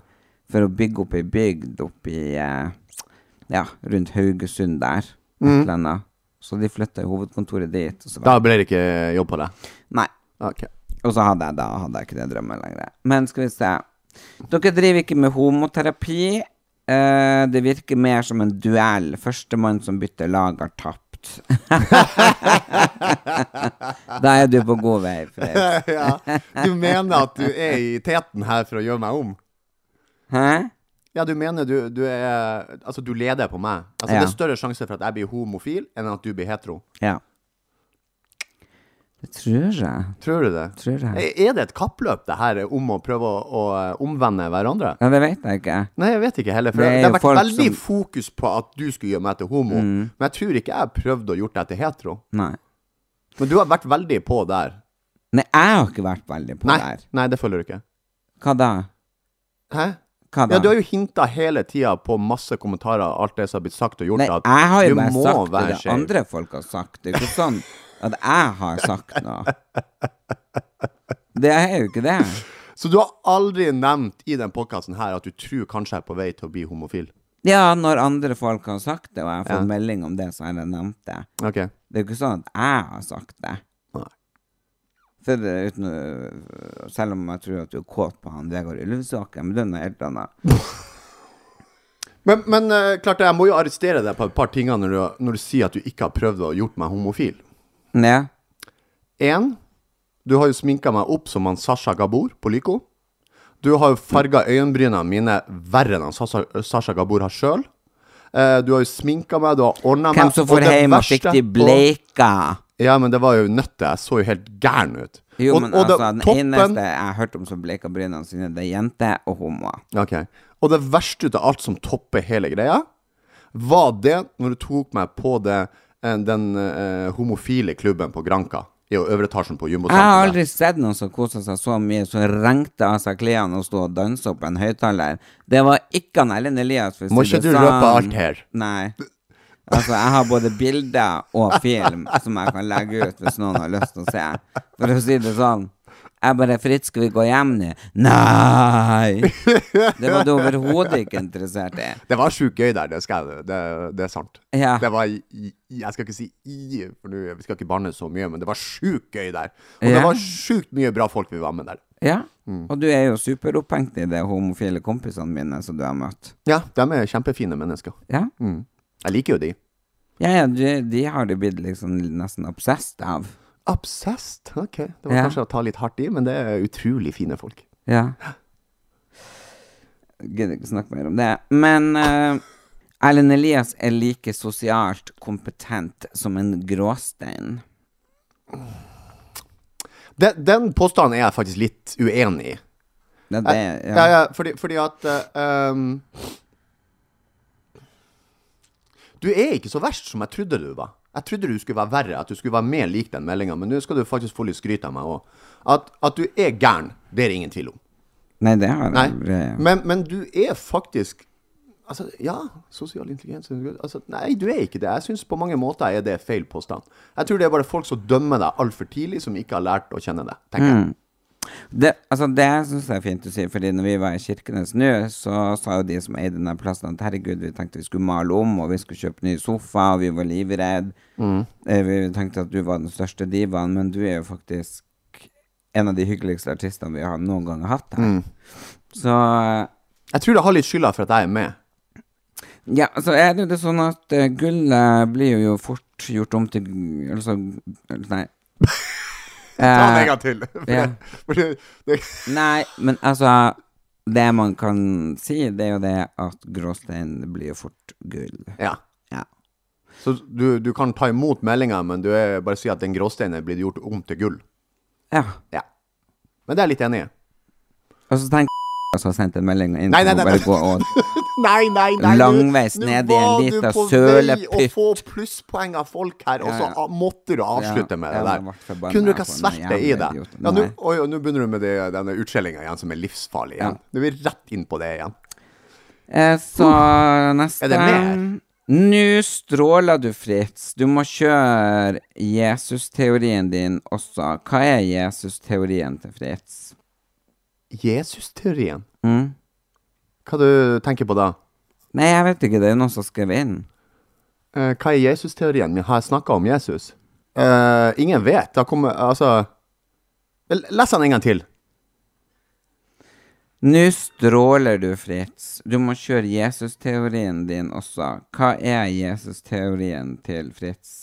Speaker 5: For å bygge opp ei bygd oppi eh, Ja, rundt Haugesund der. Et eller annet. Så de flytta jo hovedkontoret dit. Og så var,
Speaker 6: Da ble det ikke jobb på deg.
Speaker 5: nei.
Speaker 6: Ok.
Speaker 5: Og så hadde jeg da hadde jeg ikke det drømmen lenger. Men skal vi se. Dere driver ikke med homoterapi. Eh, det virker mer som en duell. Førstemann som bytter lag, har tapt. da er du på god vei. Fred.
Speaker 6: ja. Du mener at du er i teten her for å gjøre meg om?
Speaker 5: Hæ?
Speaker 6: Ja, du mener du, du er Altså, du leder på meg. Altså,
Speaker 5: Ja.
Speaker 6: Det er større sjanse for at jeg blir homofil, enn at du blir hetero.
Speaker 5: Ja. Det tror jeg.
Speaker 6: Tror du det?
Speaker 5: Tror jeg.
Speaker 6: Er det et kappløp, det her, om å prøve å, å omvende hverandre?
Speaker 5: Ja, det vet jeg ikke.
Speaker 6: Nei, jeg vet ikke heller. For
Speaker 5: Det
Speaker 6: det,
Speaker 5: er
Speaker 6: har
Speaker 5: jo
Speaker 6: vært
Speaker 5: folk
Speaker 6: veldig
Speaker 5: som- Mm.
Speaker 6: fokus på at du skulle gjøre meg til homo. Men jeg tror ikke jeg prøvde å gjort deg til hetero.
Speaker 5: Nei.
Speaker 6: Men du har vært veldig på der.
Speaker 5: Nei, jeg har ikke vært veldig på
Speaker 6: Nei,
Speaker 5: der.
Speaker 6: nei det følger du ikke.
Speaker 5: Hva da?
Speaker 6: Hæ?
Speaker 5: Hva da?
Speaker 6: Ja, du har jo hinta hele tida på masse kommentarer og alt det som har blitt sagt og gjort.
Speaker 5: Nei,
Speaker 6: at
Speaker 5: jeg har jo
Speaker 6: du
Speaker 5: bare
Speaker 6: må
Speaker 5: sagt det,
Speaker 6: være
Speaker 5: det
Speaker 6: skeiv.
Speaker 5: andre folk har sagt. Det er ikke sånn at jeg har sagt noe. Det er jo ikke det.
Speaker 6: Så du har aldri nevnt i den podkasten her at du tror kanskje jeg er på vei til å bli homofil.
Speaker 5: Ja, når andre folk har sagt det, og jeg har fått
Speaker 6: Ja.
Speaker 5: melding om det, så har jeg nevnt det.
Speaker 6: Ok.
Speaker 5: Det er jo ikke sånn at jeg har sagt det.
Speaker 6: Nei.
Speaker 5: For det er uten, å- selv om jeg tror at du er kåt på han Vegard Ulvsåker, men det er noe helt annet.
Speaker 6: Men, men eh, klart det, jeg må jo arrestere deg på et par tinger når du, når du sier at du ikke har prøvd å gjort meg homofil.
Speaker 5: Ja.
Speaker 6: Én, du har jo sminka meg opp som han Sasha Gabor på Lyco. Du har jo farga øyenbrynene mine verre enn han Sasha, Sasha Gabor har sjøl. Du har jo sminka meg, du har ordna meg
Speaker 5: Hvem som får
Speaker 6: altså, det
Speaker 5: hjem og
Speaker 6: verste-
Speaker 5: fikk de bleika?
Speaker 6: Ja, men det var jo nøtte. Jeg så jo helt gæren ut.
Speaker 5: Jo,
Speaker 6: Og-
Speaker 5: men
Speaker 6: og det-
Speaker 5: altså, den eneste jeg har hørt om som bleika brynene sine, det er jenter og homoer.
Speaker 6: Ok. Og det verste ut av alt som topper hele greia, var det når du tok meg på det, eh, den eh, homofile klubben på Granka. I øvre etasjen på Jumbo
Speaker 5: Jeg har
Speaker 6: Senteret.
Speaker 5: aldri sett noen som kosa seg så mye, som rengte av seg klærne og sto og dansa opp en høyttaler. Det var ikke han Ellen Elias. for å
Speaker 6: Må
Speaker 5: si det
Speaker 6: ikke du
Speaker 5: sånn.
Speaker 6: røpe alt her.
Speaker 5: Nei. Altså, jeg har både bilder og film som jeg kan legge ut hvis noen har lyst til å se. For å si det sånn. Jeg bare Fritt, skal vi gå hjem nå? Nei! Det var du overhodet ikke interessert i.
Speaker 6: Det var sjukt gøy der, det, skal jeg, det, det er sant.
Speaker 5: Ja.
Speaker 6: Det var i, i- Jeg skal ikke si i, for nå- vi skal ikke banne så mye, men det var sjukt gøy der. Og
Speaker 5: Ja.
Speaker 6: det var sjukt mye bra folk vi var med der.
Speaker 5: Ja. Og du er jo superopphengt i de homofile kompisene mine som du har møtt.
Speaker 6: Ja, de er kjempefine mennesker.
Speaker 5: Ja?
Speaker 6: Jeg liker jo de.
Speaker 5: Ja, ja, de, de har du blitt liksom nesten obsessed av.
Speaker 6: Obsessed? Ok, det var
Speaker 5: Ja.
Speaker 6: kanskje å ta litt hardt i, men det er utrolig fine folk.
Speaker 5: Ja. Gidder ikke snakke mer om det. Men eh, Erlend Elias er like sosialt kompetent som en gråstein.
Speaker 6: Den, den påstanden er jeg faktisk litt uenig i.
Speaker 5: Ja, det,
Speaker 6: Jeg-
Speaker 5: ja.
Speaker 6: ja. ja, fordi, fordi at eh, um, Du er ikke så verst som jeg trodde du var. Jeg trodde du skulle være verre, at du skulle være mer lik den meldinga, men nå skal du faktisk få litt skryt av meg òg. At, at du er gæren, det er det ingen tvil om.
Speaker 5: Nei, det har jeg
Speaker 6: Nei.
Speaker 5: aldri
Speaker 6: Men, men du er faktisk Altså, ja, sosial intelligens altså, Nei, du er ikke det. Jeg syns på mange måter er det feil påstand. Jeg tror det er bare folk som dømmer deg altfor tidlig, som ikke har lært å kjenne deg. tenker
Speaker 5: Mm.
Speaker 6: jeg.
Speaker 5: Det, altså, det syns jeg er fint å si, Fordi når vi var i Kirkenes nå, så sa jo de som eide denne plassen, at herregud, vi tenkte vi skulle male om, og vi skulle kjøpe ny sofa, og vi var livredd Eh, Vi tenkte at du var den største divaen, men du er jo faktisk en av de hyggeligste artistene vi har noen gang har hatt her. Så
Speaker 6: Jeg tror det har litt skylda for at jeg er med.
Speaker 5: Ja, så er det jo det sånn at eh, gullet blir jo fort gjort om til gu- Altså, nei.
Speaker 6: Ta den en
Speaker 5: Eh,
Speaker 6: gang til. For
Speaker 5: ja.
Speaker 6: det- for det- det-
Speaker 5: Nei, men altså Det man kan si, det er jo det at gråstein blir jo fort gull.
Speaker 6: Ja.
Speaker 5: Ja.
Speaker 6: Så du, du kan ta imot meldinga, men du er, bare si at den gråsteinen er blitt gjort om til gull.
Speaker 5: ja.
Speaker 6: Ja. Men det er jeg litt enig i.
Speaker 5: Og så tenk som har sendt en melding inn
Speaker 6: Nei, nei,
Speaker 5: som
Speaker 6: nei,
Speaker 5: hun bare
Speaker 6: nei.
Speaker 5: går og
Speaker 6: Nei, nei, nei. du-
Speaker 5: Langveis
Speaker 6: nå
Speaker 5: ned i en
Speaker 6: var
Speaker 5: liten
Speaker 6: du på
Speaker 5: sølepytt.
Speaker 6: vei å få plusspoeng av folk her, og så
Speaker 5: Ja, ja.
Speaker 6: a- måtte du avslutte
Speaker 5: Ja,
Speaker 6: med
Speaker 5: ja,
Speaker 6: det
Speaker 5: jeg ble
Speaker 6: der.
Speaker 5: forbanna
Speaker 6: Kunne du ikke ha
Speaker 5: på den
Speaker 6: svært det i
Speaker 5: jævla
Speaker 6: deg?
Speaker 5: idioten.
Speaker 6: Ja,
Speaker 5: Nei.
Speaker 6: nå, oi, oi, nå begynner du med det, denne utskjellinga igjen, som er livsfarlig igjen. Nå er vi rett inn på det igjen.
Speaker 5: eh, Så neste
Speaker 6: Uh. Er det mer?
Speaker 5: Nå stråler du, Fritz. Du må kjøre Jesus-teorien din også. Hva er Jesus-teorien til Fritz?
Speaker 6: Jesus-teorien.
Speaker 5: Mm.
Speaker 6: Hva du tenker på da?
Speaker 5: Nei, jeg vet ikke. Det er noen som skrev inn.
Speaker 6: Eh, hva er Jesus-teorien min? Har jeg snakka om Jesus? Eh, ingen vet. Da kommer Altså Vel, Les den en gang til.
Speaker 5: Nå stråler du, Fritz. Du må kjøre Jesus-teorien din også. Hva er Jesus-teorien til Fritz?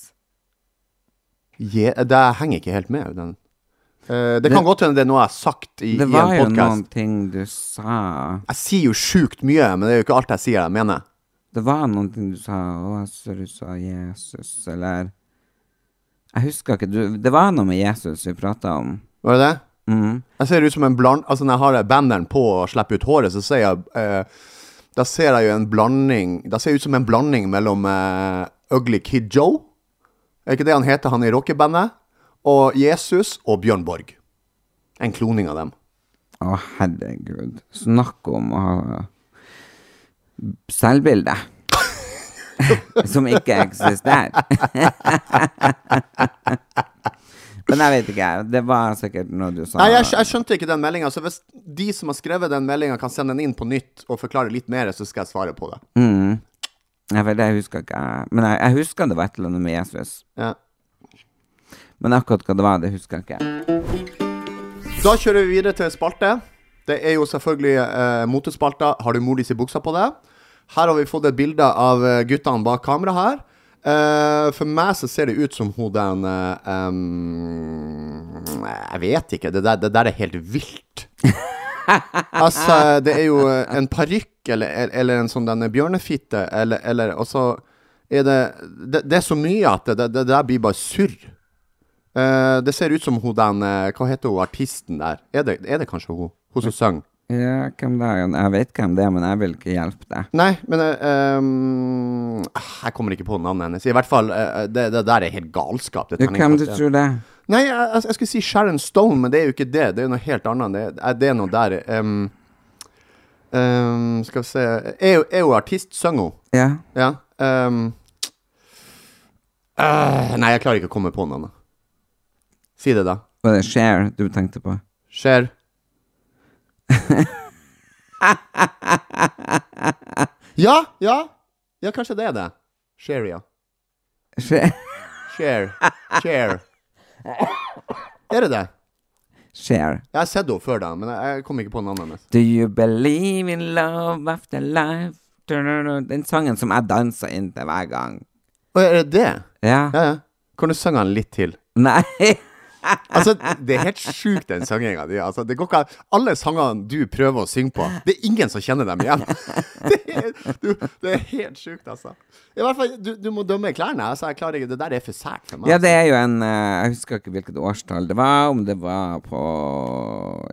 Speaker 6: Je det henger ikke helt med. Den. Eh, det kan
Speaker 5: Det-
Speaker 6: godt hende det er noe jeg har sagt i, i
Speaker 5: Det
Speaker 6: en
Speaker 5: var jo noen
Speaker 6: podkast.
Speaker 5: ting du sa
Speaker 6: Jeg sier jo sjukt mye, men det er jo ikke alt jeg sier jeg mener.
Speaker 5: Det var noen ting du sa Å, jeg ser du sa Jesus, eller Jeg husker ikke. Du, det var noe med Jesus vi prata om.
Speaker 6: Var det det?
Speaker 5: Mm.
Speaker 6: Jeg ser ut som en bland... Altså, når jeg har banderen på og slipper ut håret, så ser jeg eh, Da ser jeg jo en blanding Da ser jeg ut som en blanding mellom eh, Ugly Kid Joe, er ikke det han heter, han i rockebandet, og Jesus og Bjørn Borg. En kloning av dem.
Speaker 5: Å, herregud. Snakk om å ha selvbilde. Som ikke eksisterer. Men jeg vet ikke. Det var sikkert noe du sa.
Speaker 6: Nei, jeg, skj- jeg skjønte ikke den meldinga, så hvis de som har skrevet den meldinga, kan sende den inn på nytt og forklare litt mer, så skal jeg svare på det.
Speaker 5: Mm. Nei, for det husker ikke jeg. Men jeg, jeg husker det var et eller annet med Jesus.
Speaker 6: Ja.
Speaker 5: Men akkurat hva det var, det husker jeg ikke.
Speaker 6: Da kjører vi videre til spalte. Det er jo selvfølgelig eh, motespalta. Har du mor di si buksa på deg? Her har vi fått et bilde av eh, guttene bak kamera her. Eh, for meg så ser det ut som hun den eh, em, Jeg vet ikke. Det der, det der er helt vilt. altså, det er jo eh, en parykk eller, eller en sånn denne bjørnefitte, eller, eller Og så er det, det Det er så mye at det, det, det der blir bare surr. Eh, det ser ut som hun den eh, Hva heter hun artisten der? Er det, er det kanskje hun? Hun som sang?
Speaker 5: Ja, hvem det er? Jeg vet hvem det er, men jeg vil ikke hjelpe deg.
Speaker 6: Nei, men eh, ehm, ah, Jeg kommer ikke på navnet hennes. I hvert fall, eh, det, det der er helt galskap. Det
Speaker 5: Ja, Hvem du
Speaker 6: terningkastet.
Speaker 5: tror det er?
Speaker 6: Nei, jeg, jeg, jeg skulle si Sharon Stone, men det er jo ikke det. Det er jo noe helt annet. Det, er- det er noe der ehm, ehm, Skal vi se Er hun- Er hun artist? Synger hun?
Speaker 5: Ja.
Speaker 6: Ja. ehm. Øh, nei, jeg klarer ikke å komme på navnet. Si det, da.
Speaker 5: Var det Cher du tenkte på?
Speaker 6: Skjer. ja, ja. Ja, kanskje det er det. Share, ja.
Speaker 5: Cher?
Speaker 6: Share. Share. Er det det?
Speaker 5: Cher.
Speaker 6: Jeg har sett henne før, da, men jeg jeg kom ikke på navnet hennes.
Speaker 5: Do you believe in love after life? Du-du-du. Den sangen som jeg danser inn til hver gang.
Speaker 6: Å, er det det?
Speaker 5: Ja.
Speaker 6: Ja, ja. Kan du synge den litt til?
Speaker 5: Nei.
Speaker 6: Altså, det er helt sjukt, den sanginga di. Altså, det går ikke an. Alle sangene du prøver å synge på, det er ingen som kjenner dem igjen. Det er, du, det er helt sjukt, altså. I hvert fall, du, du må dømme i klærne. Altså, jeg klarer ikke, Det der er for sært for meg.
Speaker 5: Ja, det er jo en eh, Jeg husker ikke hvilket årstall det var, om det var på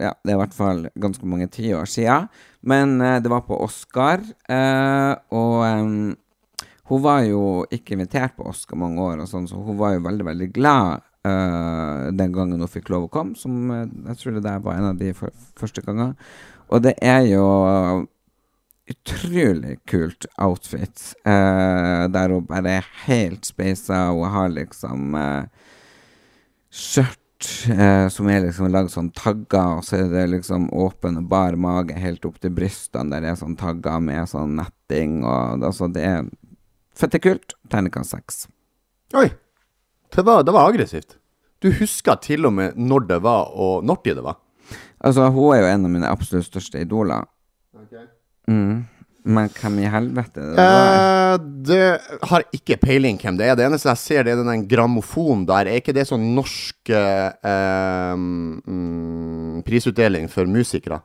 Speaker 5: Ja, det er i hvert fall ganske mange tiår siden. Men eh, det var på Oscar, eh, og em, hun var jo ikke invitert på Oscar mange år, og sånn, så hun var jo veldig, veldig glad eh, den gangen hun fikk lov å komme, som eh, jeg tror det der var en av de for, første gangene. Og det er jo utrolig kult outfit. eh, der hun bare er helt speisa. Hun har liksom eh, skjørt eh, som er liksom lagd sånn tagger, og så er det liksom åpen og bar mage helt opp til brystene. Der det er sånn tagger med sånn netting og Altså, det er fette kult. Terningkast seks.
Speaker 6: Oi! Det var, det var aggressivt. Du husker til og med når det var, og når tid det var.
Speaker 5: Altså, hun er jo en av mine absolutt største idoler. Mm. Men hvem i helvete er det? der?
Speaker 6: Eh, det har ikke peiling hvem det er. Det eneste jeg ser, det er den der grammofonen der. Er ikke det sånn norsk eh, eh, mm, prisutdeling for musikere?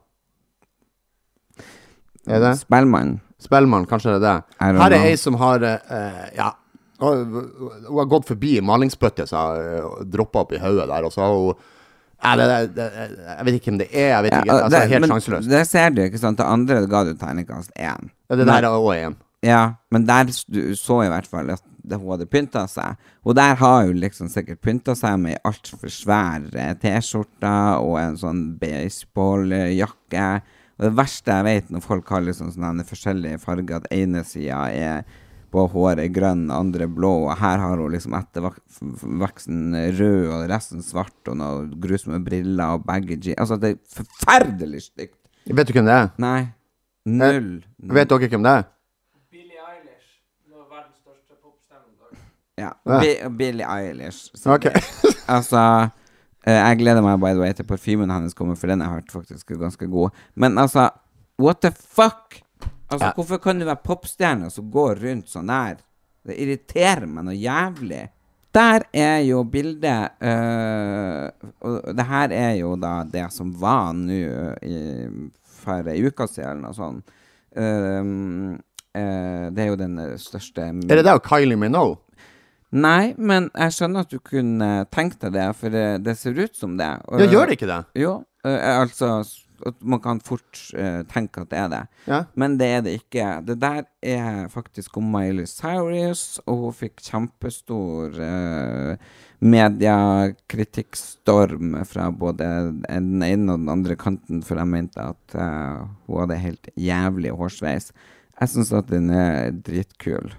Speaker 6: Er det?
Speaker 5: Spellemann.
Speaker 6: Spellemann, kanskje det er det.
Speaker 5: I don't
Speaker 6: Her er
Speaker 5: know.
Speaker 6: ei som har eh, Ja. Hun hun har gått forbi malingsbøtte som har droppa opp i hodet der, og så har hun Nei, det, det, det, Jeg vet ikke hvem det er, jeg vet ikke.
Speaker 5: Ja,
Speaker 6: altså,
Speaker 5: det-
Speaker 6: helt
Speaker 5: men
Speaker 6: sjanseløst.
Speaker 5: Der ser du, ikke sant. Det andre ga du terningkast én.
Speaker 6: Ja, det der er òg en.
Speaker 5: Ja, men der s- du så i hvert fall at det- hun hadde pynta seg. Og der har hun liksom sikkert pynta seg med ei altfor svær eh, T-skjorte og en sånn baseballjakke. Og det verste jeg vet når folk har liksom sånne forskjellige farger, at ene sida er på håret grønn, andre blå, og her har hun liksom etter vak- f- f- veksten rød og resten svart og noe grusomme briller og baggy jeans. Altså, det er forferdelig stygt.
Speaker 6: Vet du hvem det er?
Speaker 5: Nei. Null.
Speaker 6: Vet dere hvem det er?
Speaker 5: Ja.
Speaker 6: Ja.
Speaker 5: Bi- Billie Eilish. sier
Speaker 6: Ok.
Speaker 5: de. altså eh, Jeg gleder meg by the way til parfymen hennes kommer, for den jeg har hørt faktisk er ganske god. Men altså, what the fuck? Altså,
Speaker 6: Ja.
Speaker 5: Hvorfor kan du være popstjerne som går rundt sånn der? Det irriterer meg noe jævlig. Der er jo bildet eh, Og det her er jo da det som var nå eh, i- for ei uke siden, eller noe sånt. Um, eh, det er jo den eh, største
Speaker 6: Er det det og Kylie Minogue?
Speaker 5: Nei, men jeg skjønner at du kunne tenkt deg det, for det, det ser ut som det. Og,
Speaker 6: Ja, gjør det ikke det?
Speaker 5: Jo, eh, altså s- at Man kan fort eh, tenke at det er det.
Speaker 6: Ja.
Speaker 5: Men det er det ikke. Det der er faktisk om Miley Cyrus, og hun fikk kjempestor eh, mediekritikksstorm fra både den ene og den andre kanten, for de mente at eh, hun hadde helt jævlig hårsveis. Jeg syns at den er dritkul.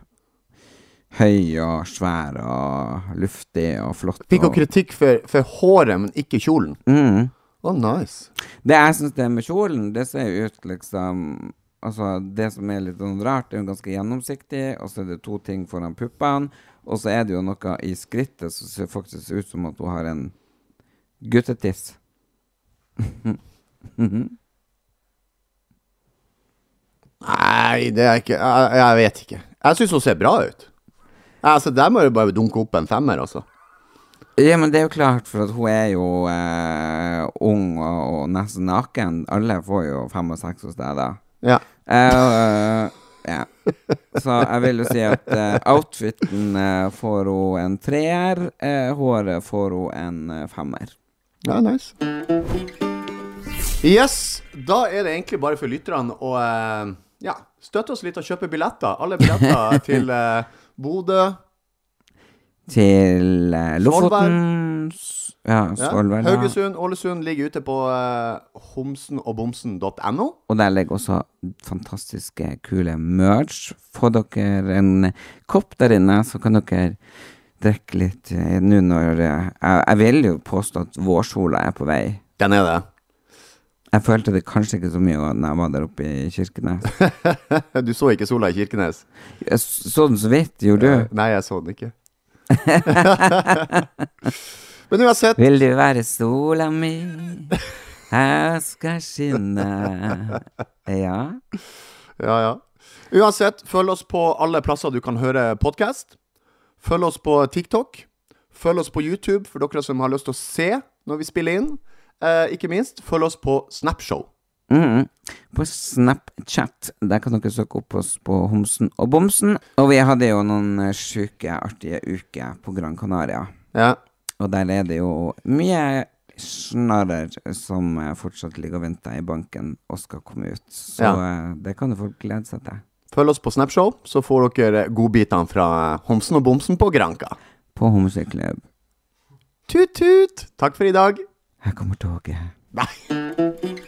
Speaker 5: Høy og svær og luftig og flott.
Speaker 6: Fikk hun
Speaker 5: og-
Speaker 6: kritikk for, for håret, men ikke kjolen?
Speaker 5: Mm.
Speaker 6: Å, nice.
Speaker 5: Det jeg syns det med kjolen, det ser jo ut liksom Altså, det som er litt sånn rart, det er jo ganske gjennomsiktig, og så er det to ting foran puppene, og så er det jo noe i skrittet som ser faktisk ut som at hun har en guttetiss.
Speaker 6: Nei, det er ikke Jeg, jeg vet ikke. Jeg syns hun ser bra ut. Altså, Der må du bare dunke opp en femmer, altså.
Speaker 5: Ja, men det er jo klart, for at hun er jo eh, ung og, og nesten naken. Alle får jo fem og seks hos deg, da.
Speaker 6: Ja.
Speaker 5: Eh, ja. Så jeg vil jo si at eh, outfiten eh, får hun en treer, eh, håret får hun en eh, femmer.
Speaker 6: ja, nice. Yes, da er det egentlig bare for lytterne å eh, ja, støtte oss litt og kjøpe billetter. Alle billetter til eh, Bodø,
Speaker 5: Til eh, Lofoten s- Ja,
Speaker 6: ja,
Speaker 5: Svolvær. da.
Speaker 6: Haugesund, Ålesund ligger ute på eh, homsenogbomsen.no.
Speaker 5: Og der ligger også fantastiske, kule merch. Få dere en kopp der inne, så kan dere drikke litt eh, nå når eh, jeg, jeg vil jo påstå at vårsola er på vei.
Speaker 6: Den er det.
Speaker 5: Jeg følte det kanskje ikke så mye da jeg var der oppe i Kirkenes.
Speaker 6: Du så ikke sola i Kirkenes?
Speaker 5: Jeg s- Sånn så vidt, gjorde du.
Speaker 6: Nei, jeg så den ikke. Men uansett
Speaker 5: Vil du være sola mi? Jeg skal skinne. Ja.
Speaker 6: Ja, ja. Uansett, følg oss på alle plasser du kan høre podkast. Følg oss på TikTok. Følg oss på YouTube for dere som har lyst til å se når vi spiller inn. Eh, ikke minst, følg oss på Snapshow.
Speaker 5: Mhm. På Snapchat. Der kan dere søke opp oss på Homsen og Bomsen. Og vi hadde jo noen eh, sjuke, artige uker på Gran Canaria.
Speaker 6: Ja.
Speaker 5: Og der er det jo mye snarrer som eh, fortsatt ligger og venter i banken og skal komme ut. Så
Speaker 6: Ja.
Speaker 5: eh, det kan jo folk glede seg til.
Speaker 6: Følg oss på Snapshow, så får dere godbitene fra Homsen og Bomsen på Granka.
Speaker 5: På Homseklubb.
Speaker 6: Tut-tut! Takk for i dag.
Speaker 5: Her kommer toget.
Speaker 6: Nei.